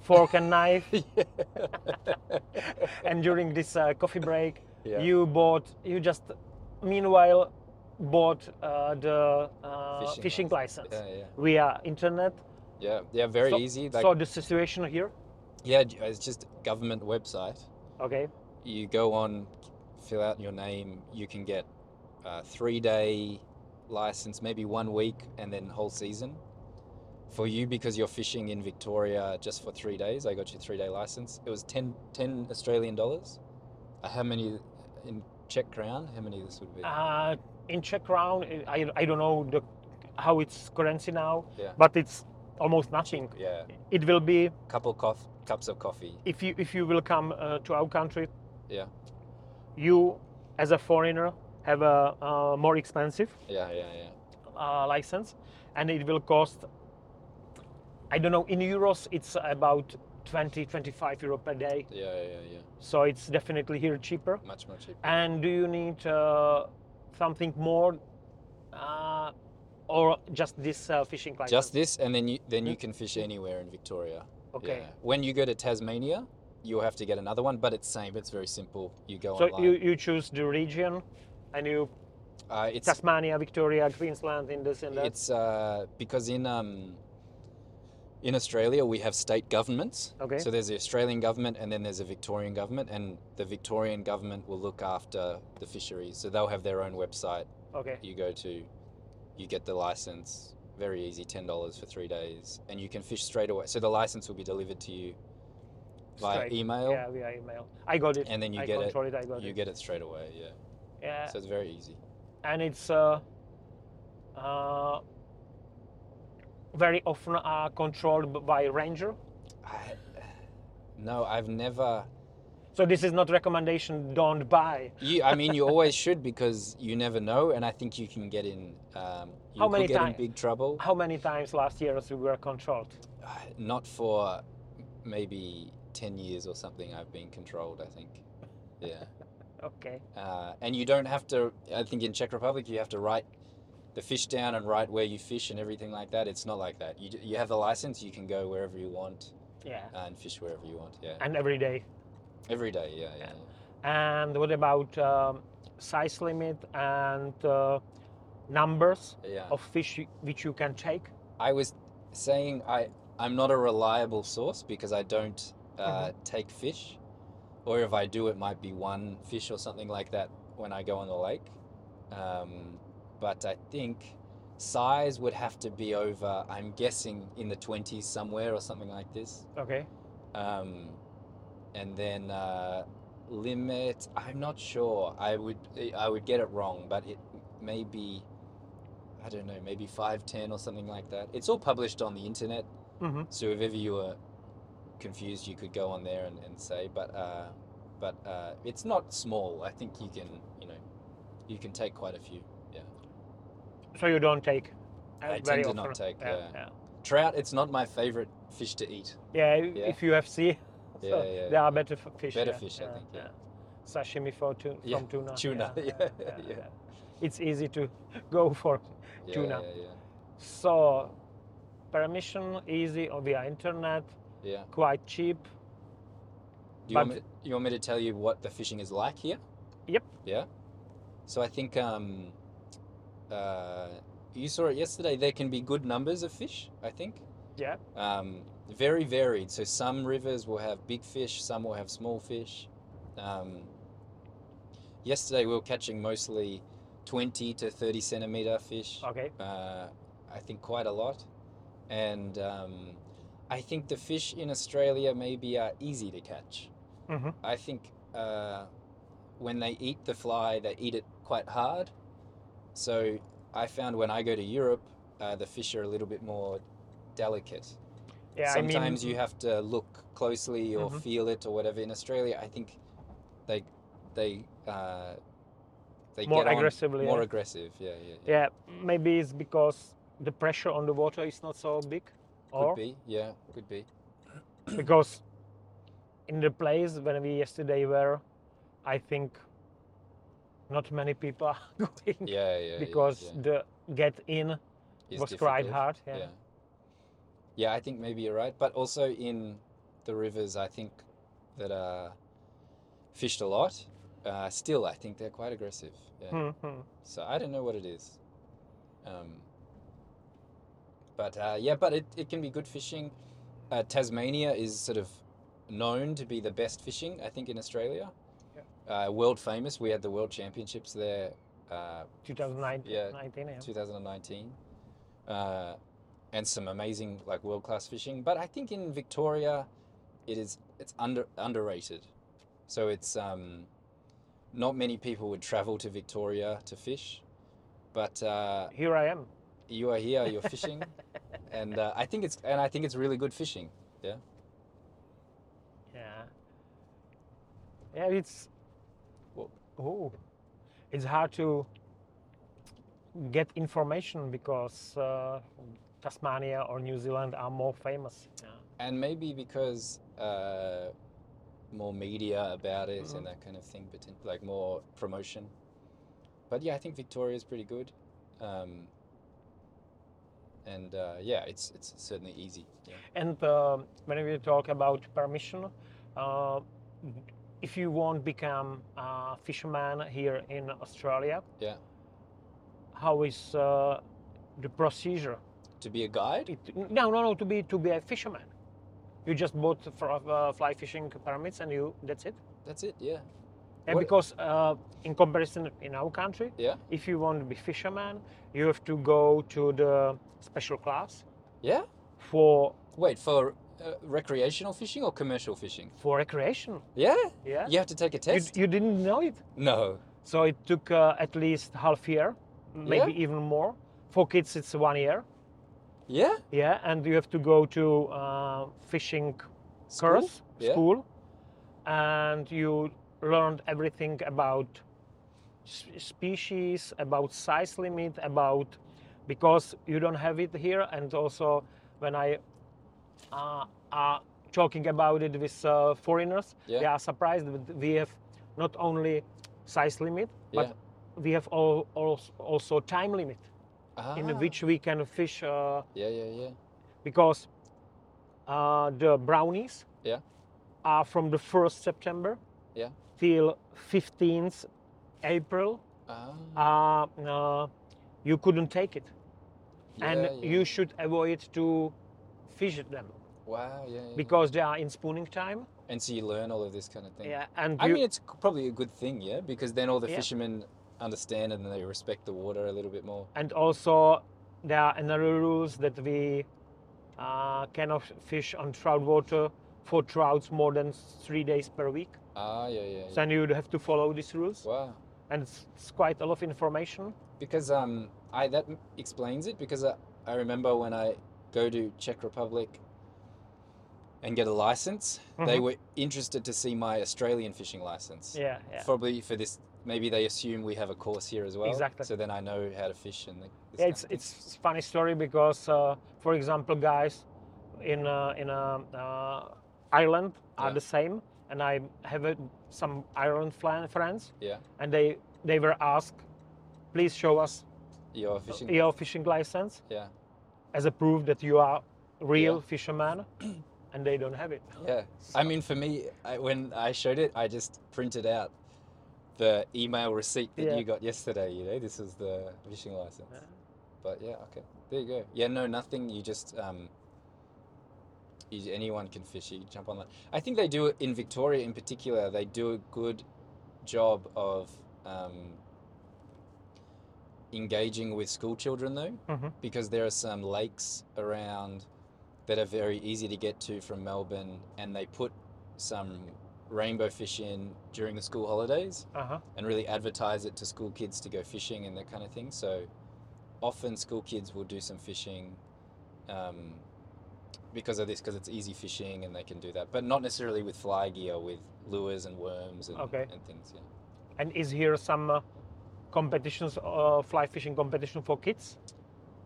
Speaker 1: fork and knife, and during this uh, coffee break,
Speaker 2: Yeah.
Speaker 1: you bought, you just meanwhile bought uh, the uh, fishing, license.
Speaker 2: Yeah, yeah,
Speaker 1: via internet.
Speaker 2: yeah, yeah. Very
Speaker 1: so,
Speaker 2: easy. Like,
Speaker 1: so the situation here,
Speaker 2: yeah, j- it's just government website.
Speaker 1: okay,
Speaker 2: You go on, fill out your name. You can get a three-day license, maybe one week, and then whole season. For you, because you're fishing in Victoria just for three days, I got you three-day license. It was 10, 10 Australian dollars. Uh, how many in Czech crown? How many this would be?
Speaker 1: uh, in Czech crown, I, I don't know the, how it's currency now,
Speaker 2: Yeah.
Speaker 1: but it's almost nothing.
Speaker 2: yeah,
Speaker 1: It will be
Speaker 2: couple cof- cups of coffee.
Speaker 1: if you if you will come uh, to our country.
Speaker 2: Yeah.
Speaker 1: You, as a foreigner, have a uh, more expensive
Speaker 2: Yeah, yeah, yeah.
Speaker 1: uh, license, and it will cost. I don't know. In euros, it's about 20, 25 euro per day.
Speaker 2: Yeah, yeah, yeah.
Speaker 1: So it's definitely here cheaper.
Speaker 2: Much more cheaper.
Speaker 1: And do you need uh, something more, uh, or just this uh, fishing license?
Speaker 2: Just this, and then you then you
Speaker 1: Mm.
Speaker 2: can fish anywhere in Victoria.
Speaker 1: Okay.
Speaker 2: Yeah. When you go to Tasmania, you'll have to get another one, but it's same. It's very simple. You go
Speaker 1: So
Speaker 2: online.
Speaker 1: you, you choose the region, and you
Speaker 2: uh, it's
Speaker 1: Tasmania, Victoria, Queensland, in this and that.
Speaker 2: it's uh, because in um, in Australia we have state governments.
Speaker 1: Okay.
Speaker 2: So there's the Australian government, and then there's a Victorian government, and the Victorian government will look after the fisheries. So they'll have their own website.
Speaker 1: okay.
Speaker 2: You go to, you get the license. Very easy, ten dollars for three days, and you can fish straight away. So the license will be delivered to you via
Speaker 1: Straight.
Speaker 2: email.
Speaker 1: Yeah, via email. I got it.
Speaker 2: And then you
Speaker 1: I
Speaker 2: get it-
Speaker 1: control it. I got
Speaker 2: You
Speaker 1: it.
Speaker 2: get it straight away, yeah.
Speaker 1: Yeah.
Speaker 2: So it's very easy.
Speaker 1: and it's uh, uh, very often uh, are controlled b- by ranger.
Speaker 2: I, no, I've never.
Speaker 1: So this is not recommendation. Don't buy.
Speaker 2: You, I mean, you always should because you never know, and I think you can get in. Um, you
Speaker 1: How
Speaker 2: could
Speaker 1: many
Speaker 2: get
Speaker 1: time-
Speaker 2: in big trouble.
Speaker 1: How many times last year as we were controlled?
Speaker 2: Uh, Not for maybe ten years or something. I've been controlled. I think. Yeah.
Speaker 1: Okay.
Speaker 2: uh, and you don't have to. I think in Czech Republic you have to write the fish down and write where you fish and everything like that. It's not like that. You d- you have the license. You can go wherever you want
Speaker 1: Yeah.
Speaker 2: and fish wherever you want. Yeah,
Speaker 1: And every day.
Speaker 2: every day. Yeah, yeah.
Speaker 1: And what about um, size limit and uh, numbers
Speaker 2: yeah. yeah.
Speaker 1: of fish you- which you can take?
Speaker 2: I was saying I I'm not a reliable source because I don't uh, take fish, or if I do, it might be one fish or something like that when I go on the lake. Um, but I think size would have to be over. I'm guessing in the twenties somewhere or something like this.
Speaker 1: Okay.
Speaker 2: Um, and then uh, limit. I'm not sure. I would I would get it wrong, but it may be. I don't know, maybe 510 or something like that. It's all published on the internet.
Speaker 1: hmm
Speaker 2: So if ever you were confused, you could go on there and, and say, but uh, but uh, it's not small. I think you can you know you can take quite a few.
Speaker 1: So you don't take. uh,
Speaker 2: I
Speaker 1: very
Speaker 2: tend to not
Speaker 1: often.
Speaker 2: take, yeah.
Speaker 1: yeah.
Speaker 2: Trout. It's not my favorite fish to eat.
Speaker 1: Yeah, i-
Speaker 2: Yeah.
Speaker 1: if you have sea, so
Speaker 2: Yeah, yeah,
Speaker 1: there are better f- fish.
Speaker 2: Better
Speaker 1: yeah,
Speaker 2: fish, I think, yeah.
Speaker 1: Sashimi for tu-
Speaker 2: Yeah,
Speaker 1: from tuna.
Speaker 2: tuna, yeah, yeah.
Speaker 1: It's easy to go for.
Speaker 2: Yeah,
Speaker 1: Tuna.
Speaker 2: Yeah,
Speaker 1: So, permission easy or via internet,
Speaker 2: yeah. yeah.
Speaker 1: quite cheap.
Speaker 2: Do you, want
Speaker 1: But-
Speaker 2: me, you want me to tell you what the fishing is like here?
Speaker 1: Yep.
Speaker 2: Yeah. So I think um, uh, you saw it yesterday. There can be good numbers of fish. I think.
Speaker 1: Yeah.
Speaker 2: Um, very varied. So some rivers will have big fish. Some will have small fish. Um, yesterday we were catching mostly twenty to thirty centimeter fish
Speaker 1: Okay.
Speaker 2: uh, I think quite a lot, and um, I think the fish in Australia maybe are easy to catch.
Speaker 1: Mhm.
Speaker 2: I think uh, when they eat the fly, they eat it quite hard. So I found when I go to Europe, uh, the fish are a little bit more delicate.
Speaker 1: Yeah,
Speaker 2: Sometimes
Speaker 1: I mean,
Speaker 2: you have to look closely or
Speaker 1: Mhm.
Speaker 2: feel it or whatever. In Australia, I think they they uh, they
Speaker 1: More
Speaker 2: get on
Speaker 1: aggressively,
Speaker 2: more
Speaker 1: yeah.
Speaker 2: aggressive. Yeah, yeah, yeah.
Speaker 1: Yeah, maybe it's because the pressure on the water is not so big,
Speaker 2: Could
Speaker 1: or
Speaker 2: be, yeah, could be.
Speaker 1: because in the place when we yesterday were, I think not many people are going
Speaker 2: Yeah, yeah. yeah,
Speaker 1: because
Speaker 2: yeah.
Speaker 1: the get in
Speaker 2: It's
Speaker 1: was quite
Speaker 2: difficult,
Speaker 1: hard, yeah.
Speaker 2: yeah. Yeah, I think maybe you're right, but also in the rivers, I think that are fished a lot. Uh, still, I think they're quite aggressive. Yeah.
Speaker 1: Mhm.
Speaker 2: So I don't know what it is. Um, but uh, yeah, but it, it can be good fishing. Uh, Tasmania is sort of known to be the best fishing, I think, in Australia. Uh, world famous. We had the world championships there uh,
Speaker 1: 2019.
Speaker 2: Yeah.
Speaker 1: 19, yeah.
Speaker 2: 2019, uh, and some amazing like world class fishing. But I think in Victoria, it is it's under underrated. So it's um, not many people would travel to Victoria to fish, but uh,
Speaker 1: Here I am.
Speaker 2: you are here, you're fishing, and uh, I think it's and I think it's really good fishing.
Speaker 1: Yeah. Yeah, it's.
Speaker 2: Whoa.
Speaker 1: Oh, it's hard to get information because uh, Tasmania or New Zealand are more famous. Yeah.
Speaker 2: And maybe because uh, more media about it
Speaker 1: Mm-hmm.
Speaker 2: and that kind of thing, but like more promotion. But yeah, I think Victoria is pretty good. Um, and uh, yeah, it's it's certainly easy. Yeah.
Speaker 1: And um when we talk about permission, uh, if you won't become a fisherman here in Australia,
Speaker 2: Yeah.
Speaker 1: how is uh, the procedure?
Speaker 2: To be a guide,
Speaker 1: It, no, no, no. To be to be a fisherman, you just bought for uh, fly fishing permits and you that's it.
Speaker 2: that's it. Yeah,
Speaker 1: Yeah,
Speaker 2: What-
Speaker 1: because uh, in comparison in our country,
Speaker 2: yeah,
Speaker 1: if you want to be fisherman, you have to go to the special class
Speaker 2: yeah.
Speaker 1: for
Speaker 2: Wait for uh, recreational fishing or commercial fishing?
Speaker 1: for recreation.
Speaker 2: Yeah,
Speaker 1: Yeah,
Speaker 2: you have to take a
Speaker 1: You,
Speaker 2: test.
Speaker 1: you didn't know it,
Speaker 2: no,
Speaker 1: so it took uh, at least half year, maybe even more. For kids, it's one year.
Speaker 2: yeah,
Speaker 1: Yeah, and you have to go to uh, fishing
Speaker 2: School?
Speaker 1: course
Speaker 2: Yeah.
Speaker 1: school, and you learned everything about s- species, about size limit, about because you don't have it here, and also when I uh, are talking about it with uh, foreigners,
Speaker 2: Yeah.
Speaker 1: they are surprised that we have not only size limit,
Speaker 2: Yeah.
Speaker 1: but we have all, also time limit
Speaker 2: Ah,
Speaker 1: in which we can fish. Uh,
Speaker 2: Yeah, yeah, yeah.
Speaker 1: because uh, the brownies
Speaker 2: Yeah.
Speaker 1: are from the 1st September
Speaker 2: Yeah.
Speaker 1: till 15th April.
Speaker 2: Ah,
Speaker 1: Uh, uh, you couldn't take it, and
Speaker 2: yeah, yeah.
Speaker 1: you should avoid to fish them
Speaker 2: Wow, yeah, yeah, yeah.
Speaker 1: because they are in spooning time.
Speaker 2: And so you learn all of this kind of thing.
Speaker 1: Yeah, and
Speaker 2: I
Speaker 1: you,
Speaker 2: mean, it's c- probably a good thing, yeah, because then all the
Speaker 1: Yeah.
Speaker 2: fishermen understand and they respect the water a little bit more.
Speaker 1: and also there are another rules that we uh, cannot fish on trout water for trouts more than three days per week.
Speaker 2: Ah, yeah, yeah. yeah.
Speaker 1: So then you would have to follow these rules.
Speaker 2: wow.
Speaker 1: and it's, it's quite a lot of information.
Speaker 2: Because um, I that m- explains it. Because I, I remember when I go to Czech Republic and get a license, they
Speaker 1: Mhm.
Speaker 2: were interested to see my Australian fishing license.
Speaker 1: Yeah, yeah.
Speaker 2: Probably for this, maybe they assume we have a course here as well.
Speaker 1: Exactly.
Speaker 2: So then I know how to fish and. Like, this
Speaker 1: yeah
Speaker 2: kind
Speaker 1: it's
Speaker 2: of thing.
Speaker 1: it's a funny story because, uh, for example, guys in uh, in uh, uh, Ireland are
Speaker 2: Yeah.
Speaker 1: the same, and I have uh, some Ireland flan- friends,
Speaker 2: yeah,
Speaker 1: and they they were asked, please show us
Speaker 2: your fishing.
Speaker 1: your fishing license
Speaker 2: Yeah,
Speaker 1: as a proof that you are real fisherman, and they don't have it.
Speaker 2: yeah. I mean, for me, I, when I showed it, I just printed out the email receipt that
Speaker 1: Yeah.
Speaker 2: you got yesterday. You know, this is the fishing license.
Speaker 1: Yeah.
Speaker 2: But yeah, okay. There you go. Yeah, no, nothing. You just um, you, anyone can fish. You jump online. I think they do it in Victoria, in particular. They do a good job of um, engaging with school children, though,
Speaker 1: Mhm.
Speaker 2: because there are some lakes around that are very easy to get to from Melbourne, and they put some rainbow fish in during the school holidays
Speaker 1: Uh-huh.
Speaker 2: and really advertise it to school kids to go fishing and that kind of thing. So often school kids will do some fishing um, because of this, because it's easy fishing and they can do that, but not necessarily with fly gear, with lures and worms and,
Speaker 1: Okay.
Speaker 2: and things. Yeah.
Speaker 1: And is here some uh, competitions, uh, fly fishing competition for kids?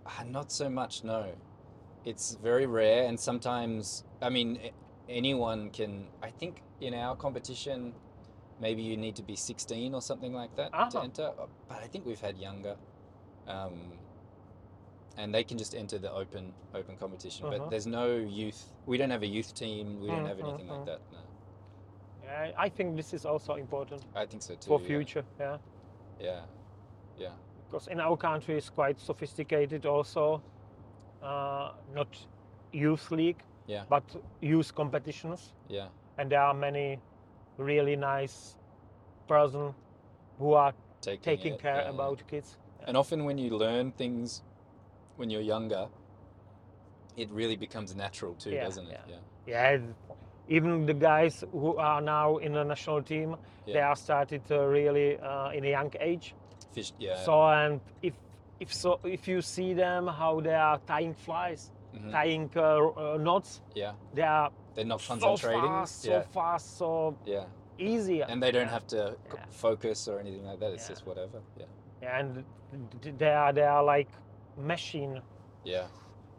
Speaker 2: Ah, not so much, no. It's very rare, and sometimes, I mean, a- anyone can. I think in our competition, maybe you need to be 16 or something like that
Speaker 1: Ah.
Speaker 2: to enter, uh, but I think we've had younger. Um, and they can just enter the open open competition,
Speaker 1: Uh-huh.
Speaker 2: but there's no youth. We don't have a youth team. We don't
Speaker 1: Mm,
Speaker 2: have
Speaker 1: mm,
Speaker 2: anything
Speaker 1: mm.
Speaker 2: like that. No,
Speaker 1: I- I think this is also important
Speaker 2: I think so too.
Speaker 1: for
Speaker 2: yeah.
Speaker 1: future. Yeah.
Speaker 2: Yeah, yeah,
Speaker 1: because in our country it's quite sophisticated also uh, not youth league
Speaker 2: Yeah.
Speaker 1: but youth competitions
Speaker 2: yeah,
Speaker 1: and there are many really nice person who are
Speaker 2: Taking,
Speaker 1: taking
Speaker 2: it,
Speaker 1: care
Speaker 2: yeah, yeah.
Speaker 1: about kids
Speaker 2: And often when you learn things when you're younger, it really becomes natural too,
Speaker 1: Yeah,
Speaker 2: doesn't it?
Speaker 1: yeah.
Speaker 2: Yeah.
Speaker 1: yeah even the guys who are now in the national team they
Speaker 2: Yeah.
Speaker 1: are started uh, really uh, in a young age
Speaker 2: Fish, yeah.
Speaker 1: so and if if so if you see them how they are tying flies
Speaker 2: Mhm.
Speaker 1: tying uh, r- uh, knots
Speaker 2: yeah.
Speaker 1: they are
Speaker 2: They're not concentrating.
Speaker 1: So fast,
Speaker 2: yeah.
Speaker 1: so fast, so
Speaker 2: yeah.
Speaker 1: easy.
Speaker 2: And they don't
Speaker 1: Yeah.
Speaker 2: have to c
Speaker 1: Yeah.
Speaker 2: focus or anything like that. It's
Speaker 1: Yeah.
Speaker 2: just whatever. Yeah.
Speaker 1: And d- they are they are like machine.
Speaker 2: Yeah.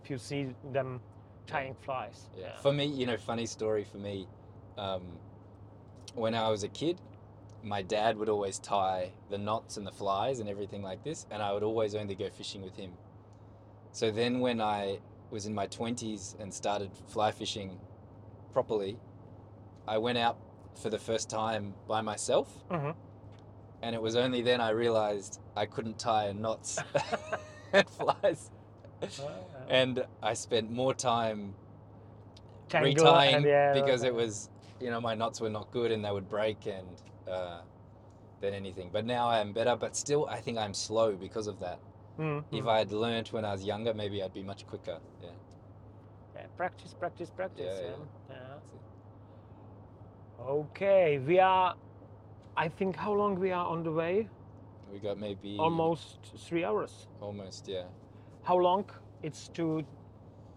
Speaker 1: If you see them tying flies.
Speaker 2: yeah. For me, you know, funny story for me, um, when I was a kid, my dad would always tie the knots and the flies and everything like this, and I would always only go fishing with him. So then when I was in my 20s and started fly fishing properly, I went out for the first time by myself.
Speaker 1: Mhm.
Speaker 2: And it was only then I realized I couldn't tie knots and flies.
Speaker 1: Uh,
Speaker 2: And I spent more time
Speaker 1: tangle
Speaker 2: retying
Speaker 1: and yeah,
Speaker 2: because
Speaker 1: okay.
Speaker 2: it was you know my knots were not good and they would break and uh, than anything but now i am better but still i think i'm slow because of that
Speaker 1: Mm,
Speaker 2: if
Speaker 1: mm.
Speaker 2: i had learnt when i was younger maybe i'd be much quicker yeah
Speaker 1: Yeah, practice, practice, practice.
Speaker 2: yeah.
Speaker 1: Yeah, Yeah. Okay, we are. I think how long we are on the way?
Speaker 2: we got maybe
Speaker 1: Almost three hours.
Speaker 2: almost yeah
Speaker 1: How long? It's to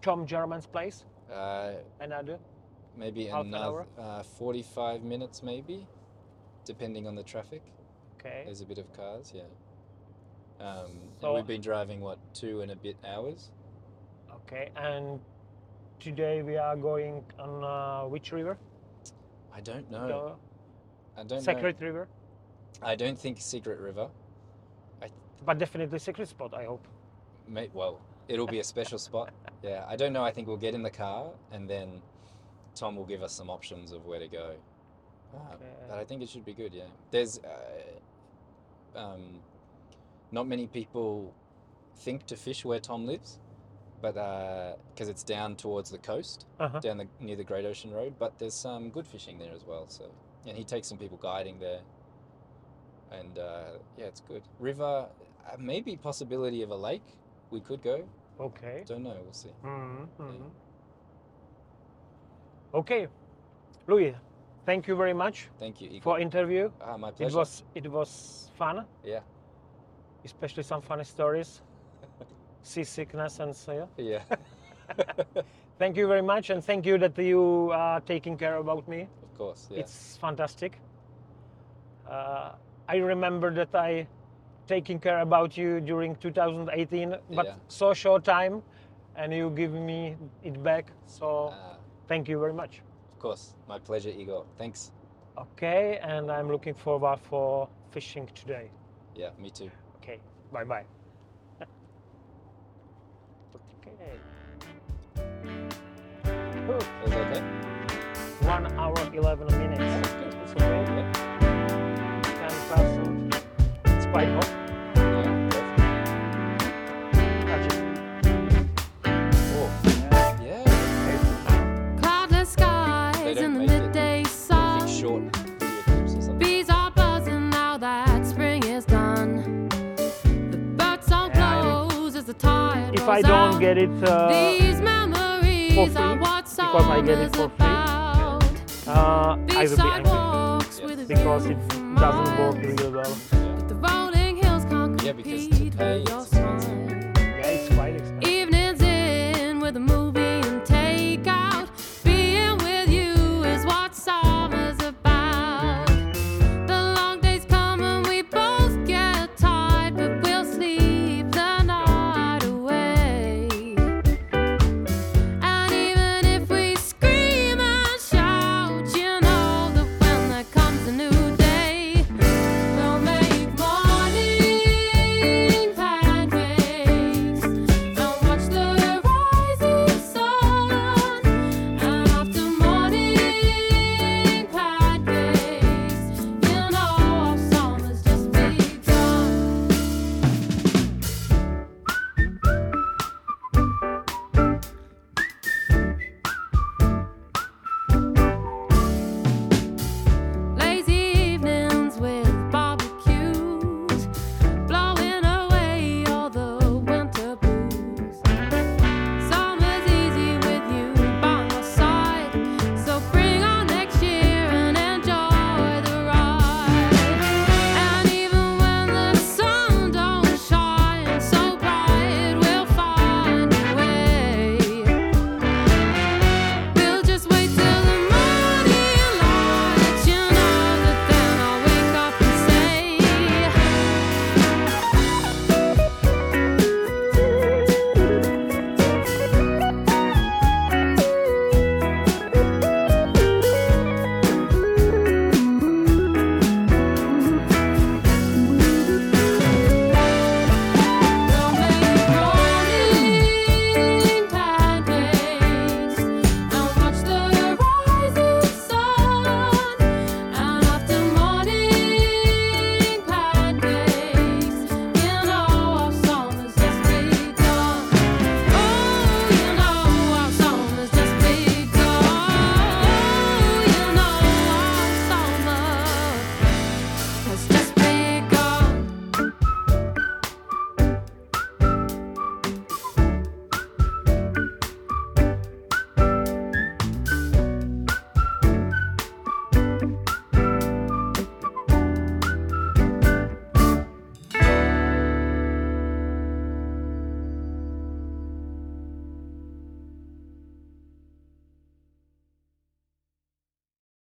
Speaker 1: Tom German's place.
Speaker 2: uh,
Speaker 1: Another
Speaker 2: maybe
Speaker 1: Half an
Speaker 2: another
Speaker 1: hour?
Speaker 2: uh, 45 minutes, maybe, depending on the traffic.
Speaker 1: Okay.
Speaker 2: There's a bit of cars, yeah. Um, and
Speaker 1: So-
Speaker 2: we've been driving what two and a bit hours.
Speaker 1: Okay. And today we are going on uh, which river?
Speaker 2: I don't know. I
Speaker 1: The
Speaker 2: don't know.
Speaker 1: secret river,
Speaker 2: I don't think Secret River.
Speaker 1: but definitely secret spot. I hope.
Speaker 2: May, well, it'll be a special spot. Yeah, I don't know. I think we'll get in the car and then Tom will give us some options of where to go. Um, But I think it should be good. Yeah, there's uh, um, not many people think to fish where Tom lives, but because it's down towards the coast,
Speaker 1: Uh-huh.
Speaker 2: down the near the Great Ocean Road. But there's some good fishing there as well. So, and he takes some people guiding there, and uh, yeah, it's good. River, uh, maybe possibility of a lake. We could go.
Speaker 1: Okay.
Speaker 2: Don't know. We'll see.
Speaker 1: Mhm, mhm. Okay, Louis, thank you very much
Speaker 2: Thank you. Igor.
Speaker 1: for interview.
Speaker 2: ah, my
Speaker 1: It
Speaker 2: pleasure.
Speaker 1: was it was fun.
Speaker 2: Yeah.
Speaker 1: Especially some funny stories, seasickness and so. on.
Speaker 2: Yeah,
Speaker 1: Thank you very much, and thank you that you are taking care about me.
Speaker 2: of course. Yeah.
Speaker 1: It's fantastic. Uh, I remember that I taking care about you during 2018, but
Speaker 2: Yeah.
Speaker 1: so short time, and you give me it back. So
Speaker 2: Ah,
Speaker 1: thank you very much.
Speaker 2: of course. My pleasure, Igor. Thanks.
Speaker 1: Okay, and I'm looking forward for fishing today.
Speaker 2: Yeah, me too.
Speaker 1: Okay, bye bye. okay. Whew,
Speaker 2: Is that okay?
Speaker 1: One hour eleven minutes. It's okay.
Speaker 2: Yeah.
Speaker 1: Time fast. It's quite hot.
Speaker 2: Yeah, perfect.
Speaker 1: Catch it.
Speaker 2: Oh, yeah.
Speaker 3: Cloudless
Speaker 2: They
Speaker 3: skies
Speaker 2: don't
Speaker 3: in the
Speaker 2: make it.
Speaker 3: midday
Speaker 2: I
Speaker 3: sun.
Speaker 2: think short video clips or something.
Speaker 3: Bees are buzzing now that spring is done. The bird song
Speaker 1: Yeah,
Speaker 3: blows as the tide
Speaker 1: If I
Speaker 3: rolls
Speaker 1: don't
Speaker 3: out.
Speaker 1: get it, uh,
Speaker 3: These memories
Speaker 1: for
Speaker 3: are
Speaker 1: free,
Speaker 3: what
Speaker 1: because I get it
Speaker 3: summer's
Speaker 1: for free,
Speaker 3: about.
Speaker 1: uh, I will
Speaker 3: These
Speaker 1: be angry
Speaker 3: sidewalks with a
Speaker 1: because
Speaker 3: view
Speaker 1: it
Speaker 3: from
Speaker 1: doesn't work
Speaker 3: miles.
Speaker 1: really well.
Speaker 3: But The rolling hills can't
Speaker 2: Yeah, because
Speaker 3: compete
Speaker 2: today
Speaker 3: with your
Speaker 2: it's expensive.
Speaker 3: smile.
Speaker 1: Yeah, it's quite expensive.
Speaker 3: Evenings in with the moon.